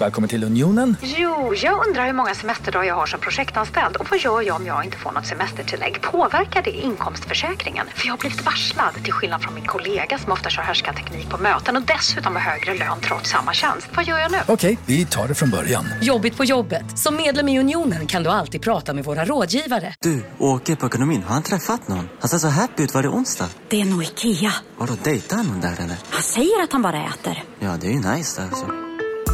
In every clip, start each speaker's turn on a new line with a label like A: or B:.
A: Välkommen till Unionen.
B: Jo, jag undrar hur många semesterdagar jag har som projektanställd och vad gör jag om jag inte får något semestertillägg? Påverkar det inkomstförsäkringen? För jag har blivit varslad, till skillnad från min kollega som ofta kör teknik på möten och dessutom har högre lön trots samma tjänst. Vad gör jag nu?
A: Okej, vi tar det från början.
C: Jobbigt på jobbet. Som medlem i Unionen kan du alltid prata med våra rådgivare.
D: Du, åker på ekonomin. Har han träffat någon? Han ser så happy ut. Var det onsdag?
E: Det är nog Ikea.
D: Har du dejtar han någon där eller?
E: Han säger att han bara äter.
D: Ja, det är ju nice där. Alltså.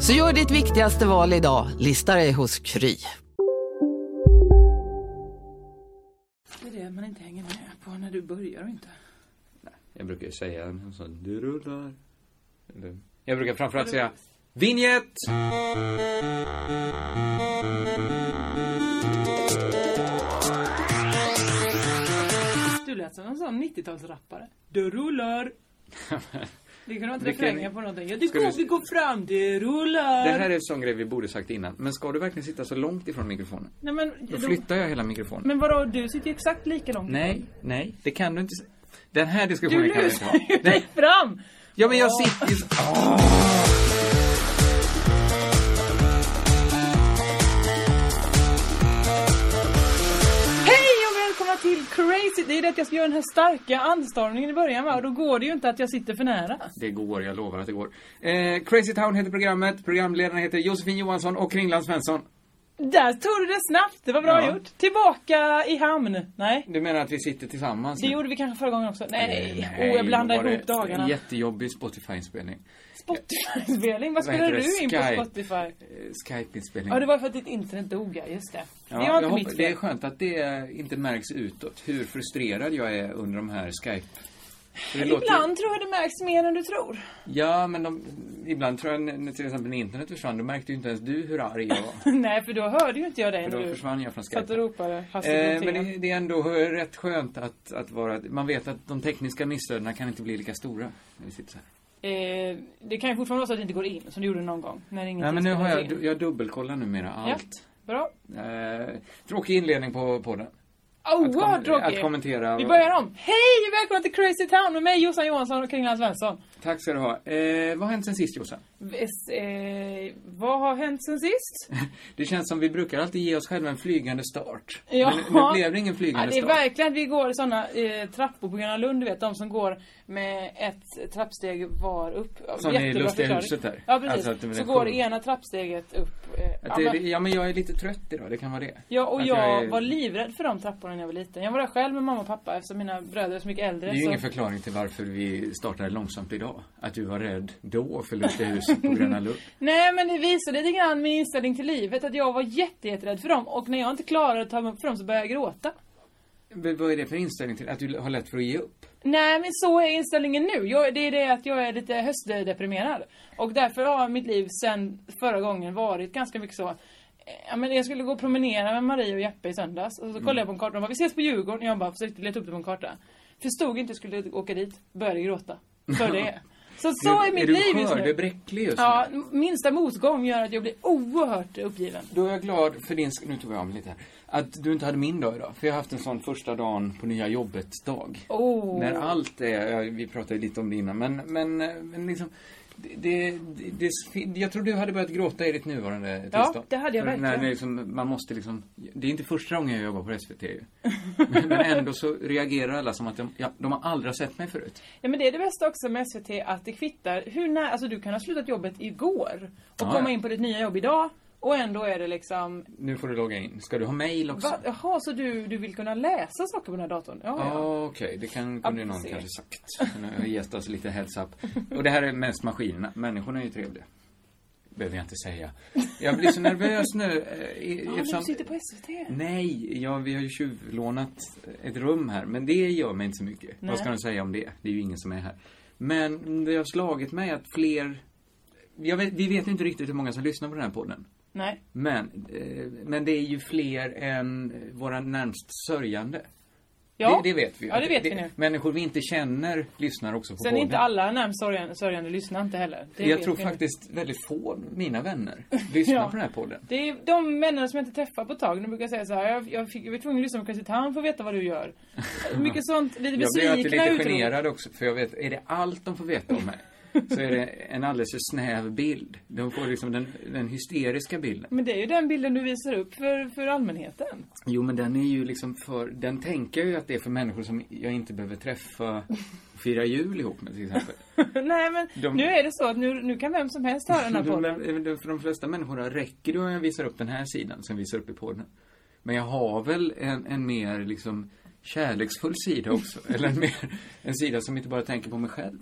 F: Så gör ditt viktigaste val idag, listar dig hos Kry.
G: Det är det man inte hänger med på när du börjar och inte.
H: Jag brukar ju säga en sån, du rullar. Eller, jag brukar framförallt säga Vinjett!
G: Du lät som en sån 90-talsrappare. Du rullar. Det kan vara inte
H: Vilken-
G: refrängen på någonting. Ja, det
H: Ska
G: går,
H: du-
G: vi går fram, det rullar.
H: Det här är en sån grej vi borde sagt innan. Men ska du verkligen sitta så långt ifrån mikrofonen?
G: Nej, men,
H: Då
G: då-
H: flyttar jag hela mikrofonen.
G: men vadå, du sitter ju exakt lika långt
H: Nej, nej, det kan du inte. s- Den här
G: Du
H: diskussionen kan du inte ha.
G: lusar ju dig
H: Nej,
G: fram.
H: ja men jag sitter ju så... Ah, Åh!
G: Hej och välkomna till Crazy. Det är det att jag ska göra den här starka anstormningen i början va? Och då går det ju inte att jag sitter för nära.
H: Det går, jag lovar att det går. Eh, Crazy Town heter programmet. Programledarna heter Josefin Johansson och Kringland Svensson.
G: Där tog du det snabbt. Det var bra
H: Ja.
G: gjort. Tillbaka i hamn. Nej.
H: Du menar att vi sitter tillsammans
G: Det
H: nu?
G: gjorde vi kanske förra gången också. Nej,
H: Nej,
G: oh, jag
H: då
G: blandar
H: var
G: ihop
H: det
G: dagarna.
H: En jättejobbig Spotify-inspelning.
G: Spotify-inspelning? Vad
H: Vad
G: spelar
H: heter det?
G: du in på
H: Sky-
G: Spotify?
H: Eh, Skype-inspelning.
G: Ja, det var för att ditt internet dog, ja. Just det.
H: Ja,
G: det
H: jag
G: var inte
H: hoppas-
G: mitt
H: Det är
G: fel.
H: skönt att det eh, inte märks utåt. Hur frustrerad jag är under de här Skype... För det låter-
G: Ibland tror jag det märks mer än du tror.
H: Ja, men de, ibland tror jag när- när till exempel när internet försvann, då märkte ju inte ens du hur arg jag var.
G: Nej, för då hörde ju inte jag dig
H: För
G: när
H: då
G: du
H: försvann jag från
G: satt och
H: Skype.
G: ropade hastigt
H: Eh,
G: eh,
H: men det, det är ändå rätt skönt att, att vara... Man vet att de tekniska missödena kan inte bli lika stora när vi sitter så här.
G: det... Eh, det kan ju fortfarande vara så att det inte går in, som det gjorde någon gång. När ingenting
H: Ja, men nu har
G: spelades
H: jag,
G: in.
H: du- jag dubbelkollar numera allt.
G: Ja, bra.
H: Eh, tråkig inledning på podden.
G: Oh,
H: Att, kom-
G: vad tråkigt.
H: att kommentera.
G: Vi börjar om. Hej och välkomna till Crazy Town med mig Jossan Johansson och Kringland Svensson.
H: Tack ska du ha. Eh, vad har hänt sen sist, Jossan?
G: Ves- Eh, vad har hänt sen sist?
H: Det känns som vi brukar alltid ge oss själva en flygande start.
G: Ja.
H: Men nu blev det ingen
G: Ja,
H: flygande
G: det är
H: start.
G: verkligen att vi går i såna eh, trappor på Gröna Lund, du vet. De som går med ett trappsteg var upp. Ja,
H: Som i
G: jättebra
H: Lustiga
G: förklaring.
H: huset där.
G: Ja, precis.
H: Alltså att det blir
G: så
H: en
G: går det
H: kurv.
G: ena trappsteget upp. Eh, ja,
H: Att det,
G: men-
H: ja, men jag är lite trött idag, det kan vara det.
G: Ja, och
H: Att
G: jag,
H: är-
G: var livrädd för de trapporna när jag var liten. Jag var där själv med mamma och pappa eftersom mina bröder är så mycket äldre.
H: Det är ju
G: så...
H: ingen förklaring till varför vi startade långsamt idag. Att du var rädd då för Lustiga huset på Gröna Lund.
G: Nej, men det visar lite grann min inställning till livet. Att jag var jätte, jätterädd för dem. Och när jag inte klarade att ta mig upp för dem så började jag gråta.
H: Men Vad är det för inställning till att du har lätt för att ge upp?
G: Nej men så är inställningen nu. Jag, det är det att jag är lite höstdeprimerad. Och därför har mitt liv sen förra gången varit ganska mycket så. eh, Ja, men jag skulle gå och promenera med Marie och Jeppe i söndags. Och så kollade jag på en karta och de bara, vi ses på Djurgården. Och jag bara försökte leta upp det på en karta. Förstod inte hur jag skulle åka dit. Började gråta. För det. Så så är mitt
H: du
G: liv just nu.
H: skördebräcklig just nu?
G: Ja, minsta motgång gör att jag blir oerhört uppgiven.
H: Då är jag glad för din sk- nu tog jag om lite här, att du inte hade min dag idag. För jag har haft en sån första dagen på nya jobbet-dag.
G: Oh.
H: När allt är, ja, vi pratade ju lite om det innan, men, men, eh, men liksom, det, det, det, det, är sfi- jag tror du hade börjat gråta i ditt nuvarande
G: Ja,
H: tillstånd.
G: det hade jag
H: För När,
G: verkligen.
H: när liksom, man måste liksom, det är inte första gången jag jobbar på SVT ju. men, men ändå så reagerar alla som att de, ja, de har aldrig sett mig förut.
G: Ja men det är det bästa också med SVT att det kvittar hur när, alltså du kan ha slutat jobbet igår och
H: Ja,
G: komma
H: ja.
G: in på ditt nya jobb idag och ändå är det liksom
H: Nu får du logga in. Ska du ha mail också?
G: va, jaha så du, du vill kunna läsa saker på den här datorn? Ja,
H: Ja,
G: ja.
H: okej. Det kan, kunde ju någon
G: se.
H: kanske sagt. Men jag har gett oss lite heads up. Och det här är mest maskinerna. Människorna är ju trevliga. Behöver jag inte säga. Jag blir så nervös nu. eh, i-
G: Ja, men
H: eftersom-
G: du sitter på SVT.
H: Nej, ja, vi har ju tjuvlånat ett rum här. Men det gör mig inte så mycket.
G: Nej.
H: Vad ska de säga om det? Det är ju ingen som är här. Men det har slagit mig att fler... Jag vet, vi vet ju inte riktigt hur många som lyssnar på den här podden.
G: Nej.
H: Men, eh, men det är ju fler än våra närmst sörjande.
G: Ja.
H: Det, det vet vi ju.
G: Ja, det vet vi nu.
H: Människor vi inte känner lyssnar också på
G: Sen är
H: podden.
G: inte alla närmst sörjande, sörjande lyssnar inte heller. Det
H: Jag
G: vet
H: tror
G: vi nu.
H: faktiskt väldigt få av mina vänner lyssnar
G: Ja.
H: på den här podden.
G: Det är de männen som jag inte träffar på ett tag. De brukar säga så här, jag, jag, fick, jag var tvungen att lyssna på Crazy Town för att veta vad du gör. Mycket sånt, lite
H: Jag blir alltid
G: besvikna
H: lite
G: utrop.
H: generad också, för jag vet, är det allt de får veta om mig? Så är det en alldeles för snäv bild. De får liksom den, den hysteriska bilden.
G: Men det är ju den bilden du visar upp för, för allmänheten.
H: Jo, men den är ju liksom för, den tänker jag ju att det är för människor som jag inte behöver träffa och fira jul ihop med till exempel.
G: Nej men
H: De-
G: nu är det så att nu, nu kan vem som helst höra den här
H: De,
G: podden.
H: de, för de flesta människorna räcker det om jag visar upp den här sidan som jag visar upp i podden. Men jag har väl en, en mer liksom kärleksfull sida också. eller en, mer, en sida som inte bara tänker på mig själv.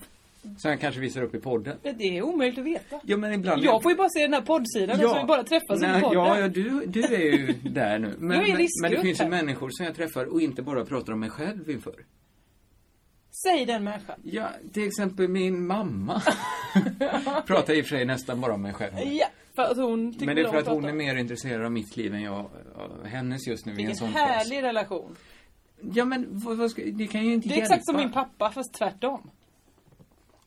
H: Som jag kanske visar upp i podden.
G: Men Det är omöjligt att veta.
H: Ja, men ibland...
G: Jag får ju bara se den här poddsidan eftersom vi bara träffas
H: Nej,
G: i podden.
H: Ja, ja du, du är ju där nu. Men,
G: Jag är
H: men, men det
G: riskgrupp
H: finns ju
G: här.
H: människor som jag träffar och inte bara pratar om mig själv inför.
G: Säg den människan.
H: Ja, till exempel min mamma. pratar i och för sig nästan bara om mig själv.
G: Ja, för att hon tycker
H: Men det är
G: om
H: för att hon
G: prata.
H: är mer intresserad av mitt liv än jag av hennes just nu i en
G: Vilken
H: sån
G: härlig relation.
H: fas. Ja men vad, vad ska, det kan ju inte
G: Det är
H: hjälpa. Typ.
G: exakt som min pappa fast tvärtom.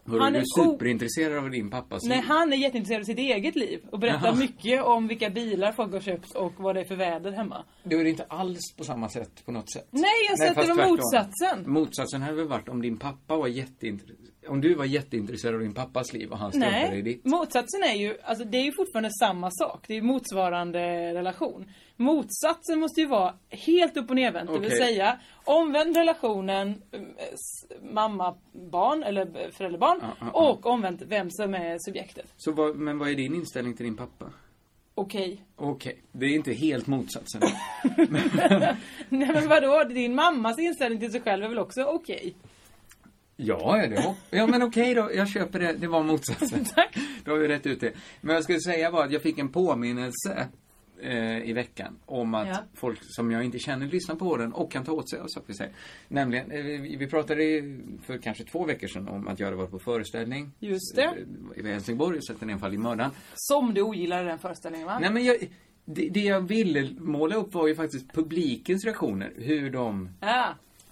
H: Hörru,
G: Han
H: du
G: är
H: är superintresserad av din pappas
G: Nej,
H: liv.
G: han är jätteintresserad av sitt eget liv och berättar
H: Jaha.
G: mycket om vilka bilar folk har köpt och vad det är för väder hemma.
H: Då är det inte alls på samma sätt på något sätt.
G: Nej, jag sätter
H: fast
G: dem
H: tvärtom.
G: motsatsen.
H: Motsatsen hade väl varit om din pappa var jätteintresserad. Om du var jätteintresserad av din pappas liv och han struntade i
G: Nej,
H: ditt.
G: motsatsen är ju, alltså det är ju fortfarande samma sak. Det är ju motsvarande relation. Motsatsen måste ju vara helt upp och nervänt. Det vill
H: Okej.
G: säga, omvänd relationen mm, s- mamma-barn eller b- förälder-barn.
H: Ja, ja, ja.
G: och omvänt vem som är subjektet.
H: Så vad, men vad är din inställning till din pappa?
G: Okej.
H: Okej, det är inte helt motsatsen.
G: Nej men vadå, din mammas inställning till sig själv är väl också okej?
H: Ja, det hopp- ja men okej då, jag köper det. Det var motsatsen.
G: Tack.
H: Då har vi rätt ut det. Men jag skulle säga var att jag fick en påminnelse eh, i veckan om att
G: Ja.
H: folk som jag inte känner lyssnar på den och kan ta åt sig av saker vi säger. Nämligen, eh, vi vi pratade ju för kanske två veckor sedan om att jag hade varit på föreställning.
G: Just det.
H: eh, I Helsingborg och sett en enfaldig mördaren.
G: Som du ogillade den föreställningen va?
H: Nej men jag, det, det jag ville måla upp var ju faktiskt publikens reaktioner. Hur de
G: Ja.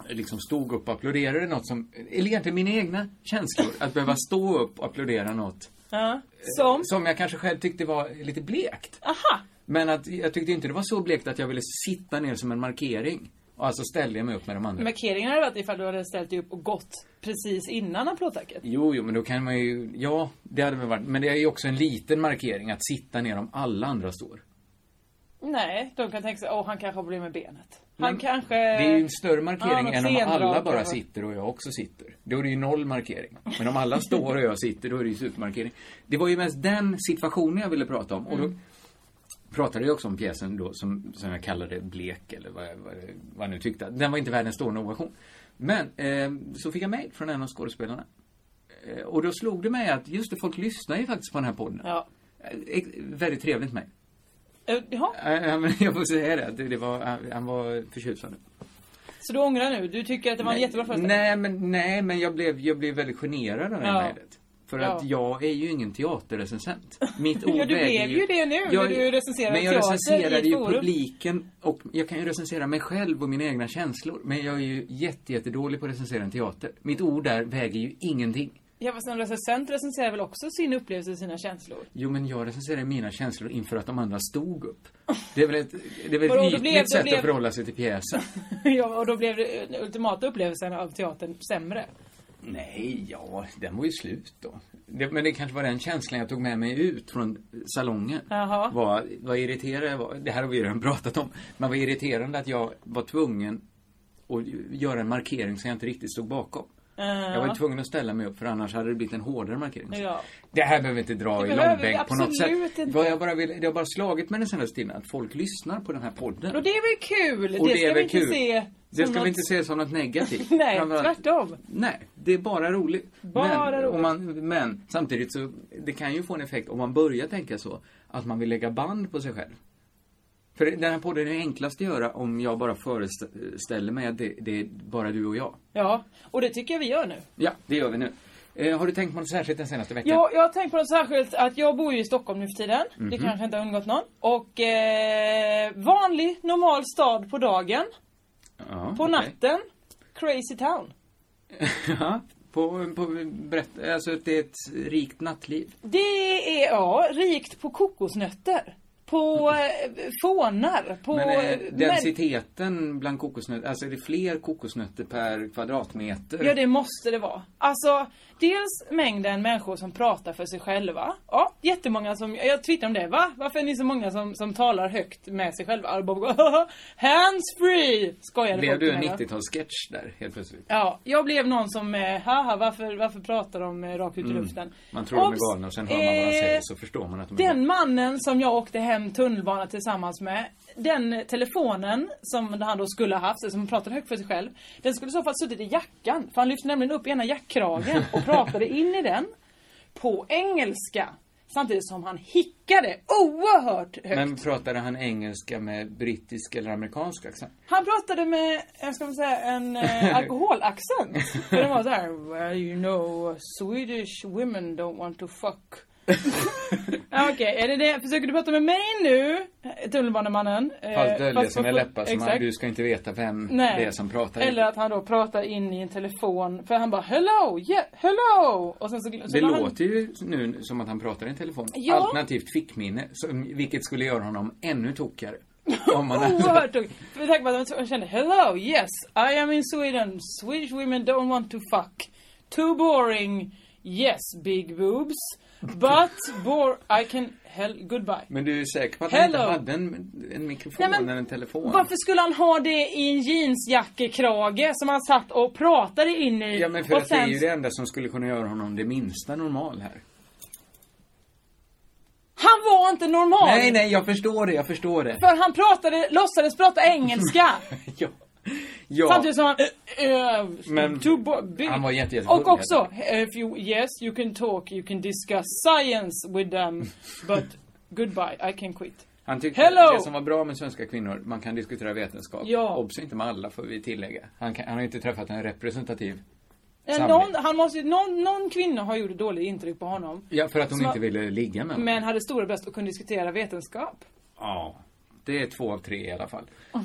H: liksom stod upp och applåderade något som, eller egentligen mina egna känslor, att behöva stå upp och applådera något
G: ja. Som?
H: som jag kanske själv tyckte var lite blekt.
G: Aha!
H: Men att jag tyckte inte det var så blekt att jag ville sitta ner som en markering. Och alltså ställde jag mig upp med de andra.
G: Markeringen hade varit ifall du hade ställt dig upp och gått precis innan applådtacket.
H: Jo, jo, men då kan man ju, ja, det hade väl varit, men det är ju också en liten markering att sitta ner om alla andra står.
G: Nej, de kan tänka sig, åh han kanske har problem med benet. Han
H: Men
G: kanske...
H: Det är ju en större markering
G: något
H: än om
G: sendrag
H: alla bara
G: kanske.
H: sitter och jag också sitter. Då är det ju noll markering. Men om alla står och jag sitter, då är det ju supermarkering. Det var ju mest den situationen jag ville prata om. Och då pratade jag också om pjäsen då som, som jag kallade blek eller vad, jag- vad, jag- vad jag nu tyckte. Den var inte världens stående ovation. Men eh, så fick jag mejl från en av skådespelarna. Eh, och då slog det mig att just det, folk lyssnar ju faktiskt på den här podden.
G: Ja.
H: Eh, ex- väldigt trevligt mejl.
G: Eh, Jaha,
H: Eh, eh, men jag får säga det, att det, det var, eh, han, han var förtjusande.
G: så du ångrar nu? Du tycker att det var en jättebra föreställning?
H: Nej men, nej, men jag, blev, jag blev väldigt generad av det
G: Ja.
H: här mejlet. För att jag är ju ingen teaterrecensent. Mitt ord
G: Ja, du
H: väger
G: blev ju det nu när du recenserar
H: Men jag
G: teater i
H: recenserar
G: ett
H: ju
G: forum.
H: publiken och jag kan ju recensera mig själv och mina egna känslor. Men jag är ju jätte, jättedålig på att recensera en teater. Mitt ord där väger ju ingenting.
G: Ja, fast en recensent recenserar väl också sin upplevelse och sina känslor?
H: Jo, men jag recenserar mina känslor inför att de andra stod upp. Det är väl ett, det är väl
G: Vadå, då
H: ett ytligt
G: blev- då
H: sätt
G: blev-
H: att förhålla sig till pjäsen.
G: ja, och då blev det, den ultimata upplevelsen av teatern sämre.
H: Nej, ja, den var ju slut då. Det, men det kanske var den känslan jag tog med mig ut från salongen.
G: Jaha.
H: Vad, vad irriterad jag var. Det här har vi ju redan pratat om. Men vad irriterande att jag var tvungen att göra en markering som jag inte riktigt stod bakom. Jag var ju tvungen att ställa mig upp för annars hade det blivit en hårdare markering.
G: Ja.
H: Det här behöver vi inte dra i
G: behöver vi
H: långbänk på något
G: absolut
H: sätt.
G: inte.
H: Vad jag bara vill, det har bara slagit mig den senaste tiden att folk lyssnar på den här podden.
G: Och det är väl kul?
H: Och
G: det, ska
H: är
G: vi
H: väl
G: inte
H: kul.
G: se
H: Det
G: som
H: ska vi
G: något-
H: inte se som något negativt.
G: Nej,
H: Framförallt-
G: tvärtom.
H: Nej, det är bara roligt.
G: Bara
H: men,
G: roligt.
H: om Man, men samtidigt så, det kan ju få en effekt om man börjar tänka så, att man vill lägga band på sig själv. För den här podden är ju enklast att göra om jag bara föreställer mig att det, det är bara du och jag.
G: Ja, och det tycker jag vi gör nu.
H: Ja, det gör vi nu. Eh, har du tänkt på något särskilt den senaste veckan?
G: Jag, jag har tänkt på något särskilt att jag bor ju i Stockholm nu för tiden.
H: Mhm.
G: Det kanske inte har undgått någon. Och eh, vanlig, normal stad på dagen.
H: Ja,
G: På
H: okej.
G: natten, crazy town.
H: Ja, på, på, berätt, alltså det är ett rikt nattliv.
G: Det är, ja, rikt på kokosnötter. På eh, fånar, på...
H: Men eh,
G: men-
H: densiteten bland kokosnötter, alltså är det fler kokosnötter per kvadratmeter?
G: Ja, det måste det vara. Alltså, dels mängden människor som pratar för sig själva. Ja, jättemånga som, jag twittrade om det, va? Varför är ni så många som, som talar högt med sig själva? Och bara går, Handsfree! Skojade
H: Blev
G: folk
H: du
G: till
H: en
G: mig, va?
H: 90-talssketch där helt plötsligt?
G: Ja, jag blev någon som, eh, haha, varför, varför pratar de eh, rakt ut i luften?
H: Mm. Man tror de
G: Obs!
H: är galna och sen hör man vad han
G: Eh,
H: säger så förstår man att de är galna.
G: Den mannen som jag åkte hem tunnelbana tillsammans med, den telefonen som han då skulle ha haft, som han pratade högt för sig själv, den skulle i så fall suttit i jackan. För han lyfte nämligen upp ena jackkragen och pratade in i den på engelska. Samtidigt som han hickade oerhört högt.
H: Men pratade han engelska med brittisk eller amerikansk accent?
G: Han pratade med, jag ska väl säga, en eh, alkoholaccent. För den var så här, well you know, Swedish women don't want to fuck. Ja, Okej, är det det? Försöker du prata med mig nu, tunnelbanemannen? Eh,
H: Fast dölja
G: fast på-
H: sina läppar så man,
G: exakt.
H: du ska inte veta vem
G: Nej.
H: det är som pratar.
G: Eller att han då pratar in i en telefon, för han bara hello, yeah, hello! Och sen så, så
H: det
G: la han-
H: låter ju nu som att han pratar i en telefon.
G: Ja.
H: Alternativt fickminne, som, vilket skulle göra honom ännu tokigare. Om man
G: Oerhört tokigt. För tack vare att jag kände Hello, yes, I am in Sweden. Swedish women don't want to fuck. Too boring. Yes, big boobs. But bore I can hell goodbye.
H: Men du är säker på att han inte
G: Hello.
H: hade en, en mikrofon
G: Nej, men
H: eller en telefon?
G: Varför skulle han ha det i en jeansjackekrage som han satt och pratade in i?
H: Ja men för
G: och
H: att det är ju det enda som skulle kunna göra honom det minsta normal här.
G: Han var inte normal!
H: Nej, nej, jag förstår det, jag förstår det.
G: För han pratade, låtsades prata engelska.
H: Ja. ja.
G: Samtidigt som han... eh, eh,
H: Men
G: too bo- big.
H: han var jätte, jättefull,
G: Och också, eh, if you, yes you can talk, you can discuss science with them, but goodbye, I can quit.
H: Han tyckte
G: Hello!
H: det som var bra med svenska kvinnor, man kan diskutera vetenskap.
G: Ja.
H: Obs, inte med alla får vi tillägga. Han, kan, han har ju inte träffat en representativ.
G: Eh,
H: Samling.
G: Någon, han måste, ju- någon, någon kvinna har gjort ett dåligt intryck på honom.
H: Ja, för att hon
G: Som-
H: inte ville ligga med honom.
G: Men hade stora bröst och kunde diskutera vetenskap.
H: Ja, det är två av tre i alla fall.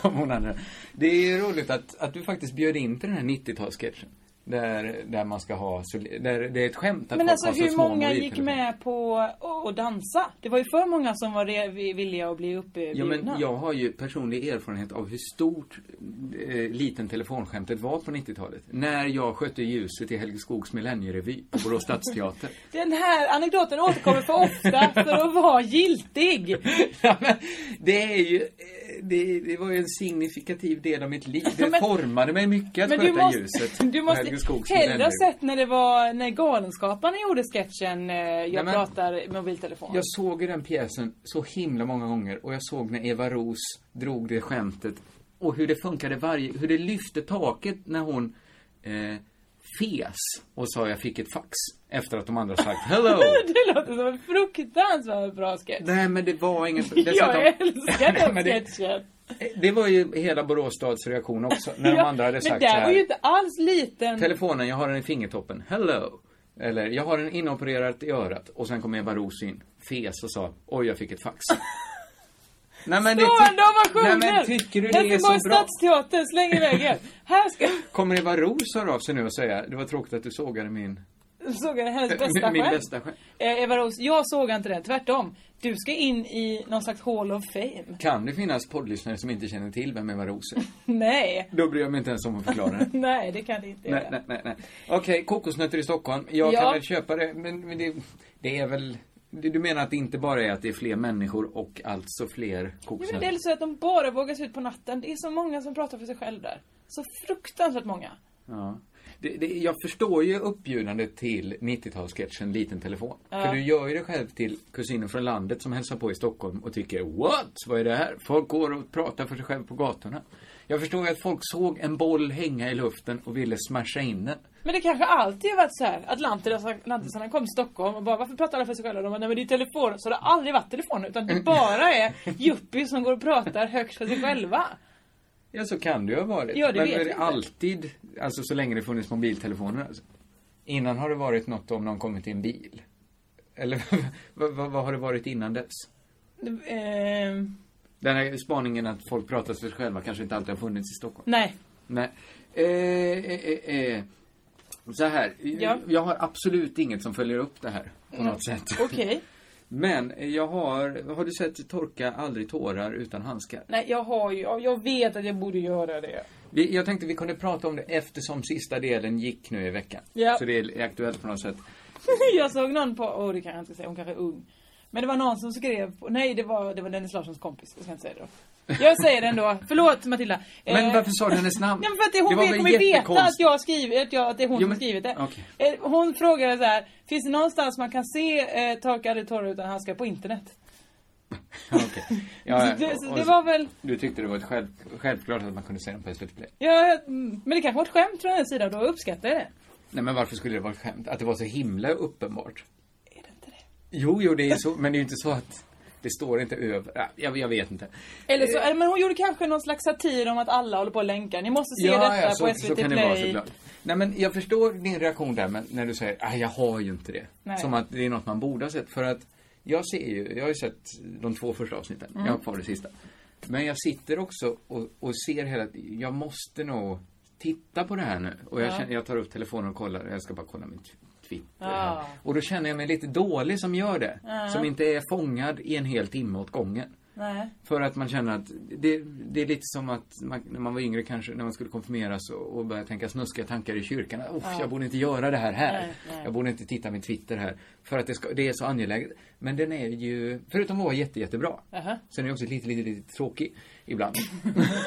H: som hon hade. Det är ju roligt att, att du faktiskt bjöd in till den här 90-talssketchen. Där, där man ska ha, så, där det är ett skämt att
G: Men
H: folk
G: alltså
H: har så
G: hur
H: små
G: många gick
H: mobiltelefoner.
G: med på att att dansa? Det var ju för många som var re- villiga att bli
H: Ja, men
G: uppbjudna.
H: jag har ju personlig erfarenhet av hur stort eh, liten telefonskämtet var på 90-talet. När jag skötte ljuset i Helge Skogs Millennievy på Borås stadsteater.
G: Den här anekdoten återkommer för ofta för att vara giltig.
H: ja, men, det är ju, eh, det, det var ju en signifikativ del av mitt liv. Det
G: Men-
H: formade mig mycket att
G: Men
H: sköta
G: du måste,
H: ljuset
G: du
H: på Helge Skogs
G: måste hellre ha
H: Millennievy.
G: sett när det var när Galenskaparna gjorde sketchen eh, Jag
H: Nej, men-
G: pratar mobiltelefon.
H: Jag såg ju den pjäsen så himla många gånger och jag såg när Eva Ros drog det skämtet och hur det funkade varje, hur det lyfte taket när hon eh, fes och sa jag fick ett fax efter att de andra sagt hello.
G: Det låter som en fruktansvärt bra sketch.
H: Nej men det var ingen...
G: Jag älskar
H: Nej,
G: den
H: men det,
G: sketchen.
H: det var ju hela Borås stads reaktion också när de
G: Ja,
H: andra hade
G: men
H: sagt så
G: där var ju
H: här.
G: inte alls liten.
H: Telefonen, jag har den i fingertoppen. Hello! Eller, jag har den inopererad i örat. Och sen kom Eva Roos in, fes och sa, oj, jag fick ett fax. Nej, men
G: Stående
H: Nej,
G: ovationer!
H: men tycker du det är
G: Helsingborgs
H: så bra?
G: stadsteater, släng iväg er. Här ska...
H: Kommer Eva Roos höra av sig nu och säga, det var tråkigt att du sågade min...
G: Såg jag hennes
H: Min-
G: bästa
H: min
G: skämt?
H: bästa skämt.
G: Eh, Eva Roos, jag såg inte det. Tvärtom. Du ska in i någon slags Hall of Fame.
H: Kan det finnas poddlyssnare som inte känner till vem Eva Roos är?
G: Nej.
H: Då bryr jag mig inte ens om att förklara det.
G: Nej, det kan det inte
H: Nej,
G: göra.
H: nej, nej, nej. Okej, kokosnötter i Stockholm. Jag
G: Ja.
H: kan väl köpa det, men, men det, det är väl... Du du menar att det inte bara är att det är fler människor och alltså fler
G: Jo, men det är
H: kokosnötter?
G: lite så att de bara vågar sig ut på natten. Det är så många som pratar för sig själv där. Så fruktansvärt många.
H: Ja. Det, det, jag förstår ju uppbjudandet till 90-talssketchen Liten telefon. För du gör ju det själv till kusinen från landet som hälsar på i Stockholm och tycker What? Vad är det här? Folk går och pratar för sig själv på gatorna. Jag förstår ju att folk såg en boll hänga i luften och ville smasha in den.
G: Men det kanske alltid har varit så här. Atlantis- Atlantisarna kom till Stockholm och bara varför pratar alla för sig själva? De bara, nej men det är telefon. Så det har aldrig varit telefon utan det bara är yuppies som går och pratar högt för sig själva.
H: Ja, så kan det ju ha varit.
G: Ja, det
H: men
G: vet
H: är det
G: vi inte.
H: alltid, alltså så länge det funnits mobiltelefoner alltså. Innan har det varit något om någon kommit i en bil. Eller vad, vad, vad har det varit innan dess?
G: Eh,
H: Den här spaningen att folk pratar för sig själva kanske inte alltid har funnits i Stockholm.
G: nej.
H: Nej. Eh, eh, eh, eh. Så här,
G: Ja. Mm.
H: jag har absolut inget som följer upp det här på något sätt.
G: Okej.
H: Men jag har, har du sett Torka aldrig tårar utan handskar?
G: Nej, jag har ju... ja, Jag vet att jag borde göra det.
H: Vi, jag tänkte vi kunde prata om det eftersom sista delen gick nu i veckan.
G: Ja.
H: Så det är aktuellt på något sätt.
G: jag såg någon på... Åh, det kan jag inte säga. Hon kanske är ung. Men det var någon som skrev på... Nej, det var, det var Dennis Larssons kompis. Jag ska inte säga det då. Jag säger det ändå. Förlåt Matilda.
H: Men varför sa du hennes namn?
G: Nej, men för att det, hon
H: var
G: vet,
H: väl
G: kommer ju veta
H: jättekonstigt.
G: att jag har skrivit, att, jag, att det är hon
H: Jo,
G: som har
H: men-
G: skrivit det.
H: okej.
G: Eh, Hon frågade så här, finns det någonstans man kan se eh, Torka aldrig tårar utan handskar på internet?
H: Ja, okej. Ja,
G: så det,
H: och-
G: så
H: och
G: det
H: så-
G: var väl,
H: Du tyckte det var ett själv, självklart att man kunde säga dem på SVT Play.
G: ja, jag- mm, men det kanske var ett skämt från hennes sida och då uppskattar jag det.
H: Nej men varför skulle det vara ett skämt? Att det var så himla uppenbart.
G: Är det inte det?
H: Jo, jo det är så, men det är ju inte så att det står inte över. Ja, Jag, jag vet inte.
G: Eller så, eller, men hon gjorde kanske någon slags satir om att alla håller på och länkar. Ni måste se detta
H: ja, så,
G: på
H: så
G: SVT
H: kan det vara
G: Play.
H: såklart. Nej men jag förstår din reaktion där, men när du säger ah, jag har ju inte det.
G: Nej.
H: Som att det är något man borde ha sett. För att jag ser ju, jag har ju sett de två första avsnitten.
G: Mm.
H: Jag har kvar det sista. Men jag sitter också och, och ser hela tiden, jag måste nog titta på det här nu. Och jag, känner, jag tar upp telefonen och kollar, jag ska bara kolla min tw- Twitter. här.
G: Ja.
H: Och då känner jag mig lite dålig som gör det. Som inte är fångad i en hel timme åt gången.
G: Nej.
H: För att man känner att det, det är lite som att man, när man var yngre kanske, när man skulle konfirmeras och, och börja tänka snuskiga tankar i kyrkan. Uff, jag borde inte göra det här här.
G: Nej, nej.
H: Jag borde inte titta min Twitter här. För att det, ska, det är så angeläget. Men den är ju, förutom att vara jätte, jättebra.
G: Aha.
H: Sen är den också lite, lite, lite tråkig ibland.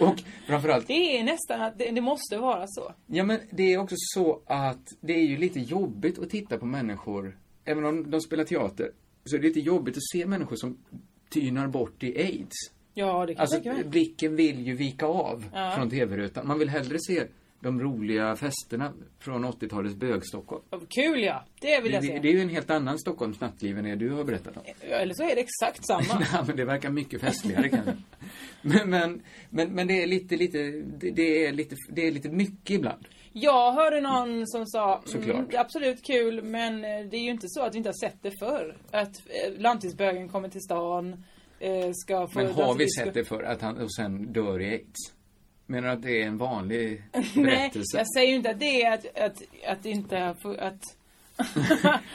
H: och framförallt
G: Det är nästan att det, det måste vara så.
H: Ja men det är också så att det är ju lite jobbigt att titta på människor, även om de spelar teater, så är det lite jobbigt att se människor som tynar bort i aids.
G: Ja, det kan
H: Alltså
G: jag tänka mig.
H: blicken vill ju vika av
G: Ja.
H: från tv-rutan. Man vill hellre se de roliga festerna från 80-talets bög-Stockholm.
G: Vad Kul ja! Det vill
H: Det,
G: jag se.
H: det, det är ju en helt annan Stockholms nattliv än det du har berättat om.
G: Eller så är det exakt samma.
H: Ja, men det verkar mycket festligare kanske. Men, men, men, men det är lite, lite, det, det är lite, det är lite mycket ibland.
G: Jag hörde någon som sa, mm,
H: Såklart.
G: det är absolut kul men eh, det är ju inte så att vi inte har sett det förr. Att eh, lantisbögen kommer till stan, eh, ska få
H: Men har
G: dansa
H: vi
G: disco.
H: sett det för att han och sen dör i aids? Menar du att det är en vanlig
G: Nej,
H: berättelse?
G: jag säger ju inte att det är att, att, att det inte har fu- att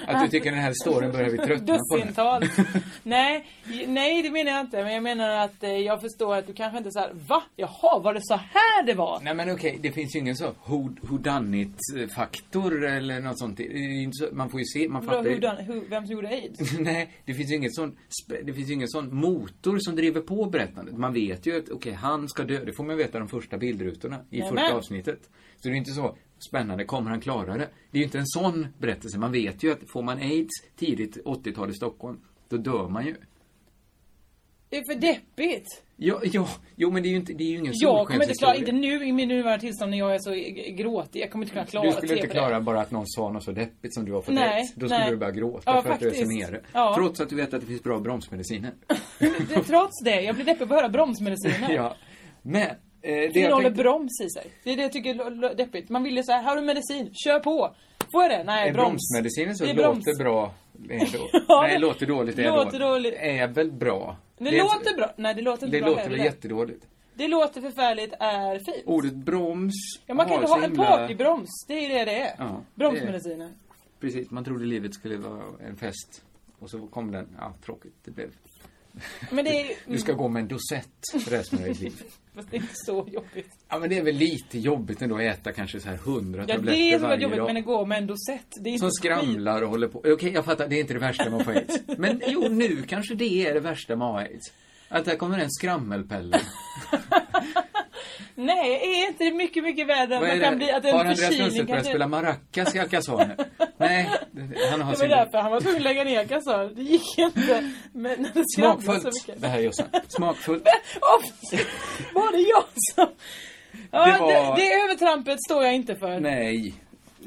H: Att du tycker den här storyn börjar vi tröttna på den?
G: Dussintals. nej, j- nej det menar jag inte. Men jag menar att eh, jag förstår att du kanske inte såhär, va? Jaha, var det så här det var?
H: Nej men okej, det finns ju ingen så who, who done it faktor eller något sånt. Det är ju inte så- Man får ju se, man
G: Vadå,
H: fattar
G: who
H: ju.
G: done, who, vem som gjorde aids?
H: Nej, det finns ju ingen sån, sp- det finns ju ingen sån motor som driver på berättandet. Man vet ju att, okej, han ska dö. Det får man veta de första bildrutorna i
G: Nämen.
H: första avsnittet. Så det är inte så, spännande, kommer han klara det? Det är ju inte en sån berättelse. Man vet ju att får man aids tidigt 80-tal i Stockholm, då dör man ju.
G: Det är för deppigt.
H: Ja, ja, jo men det är ju inte, det är ju ingen
G: Jag kommer inte klara,
H: solskenshistoria.
G: inte nu i min nuvarande tillstånd när jag är så g- gråtig. Jag kommer inte kunna klara
H: Du skulle inte
G: TV.
H: klara bara att någon sa något så deppigt som du har fått
G: Nej,
H: aids. Då skulle
G: nej.
H: du börja gråta
G: Ja,
H: för att du är så
G: faktiskt.
H: nere.
G: Ja.
H: Trots att du vet att det finns bra bromsmediciner.
G: Det- Trots det, jag blir deppig på att höra bromsmediciner.
H: ja. Men, eh, det jag
G: Innehåller
H: tänkte-
G: broms i sig. Det är det jag tycker är lo- lo- deppigt. Man vill ju såhär, här har du medicin, kör på! Får jag det? Nej,
H: Är
G: broms.
H: bromsmedicinen så
G: Det är
H: låter
G: broms.
H: bra. Är då,
G: Ja,
H: nej,
G: det-
H: låter dåligt. Är
G: låter dåligt.
H: Är väl bra.
G: Det,
H: är-
G: låter bra. Nej, det låter inte
H: Det
G: bra
H: låter
G: heller.
H: väl jättedåligt.
G: Det låter förfärligt, är fint.
H: Ordet broms
G: ja, man kan
H: har
G: inte
H: så
G: ha en
H: himla-
G: partybroms. Det är det det är.
H: Ja, det är-
G: Bromsmediciner.
H: Precis, man trodde livet skulle vara en fest. Och så kom den, ja tråkigt det blev.
G: Men det är
H: Du ska gå med en dosett resten av ditt liv.
G: Fast det är inte så jobbigt.
H: Ja men det är väl lite jobbigt ändå att äta kanske så här hundra
G: Ja,
H: tabletter
G: det är så
H: varje
G: jobbigt,
H: dag.
G: men det går med en dosett. Det är inte
H: Som
G: skit.
H: skramlar och håller på. Okej, jag fattar, det är inte det värsta med att få aids. Men jo, nu kanske det är det värsta med aids. Att där kommer en skrammelpelle.
G: Nej, är inte det mycket, mycket värre att
H: Vad är
G: man
H: det?
G: kan bli att en
H: har Andreas
G: förkylning
H: Lundstedt
G: kan
H: börjat spela maracas i Alcazar nu? Nej, han har
G: Det var
H: sin...
G: därför han var tvungen att lägga ner kassör. Det gick inte. Men när det skrattade så
H: Smakfullt,
G: mycket.
H: det här Jossan. Smakfullt.
G: Åh, var det jag som... Ja, det,
H: Det var-
G: det, övertrampet står jag inte för.
H: Nej.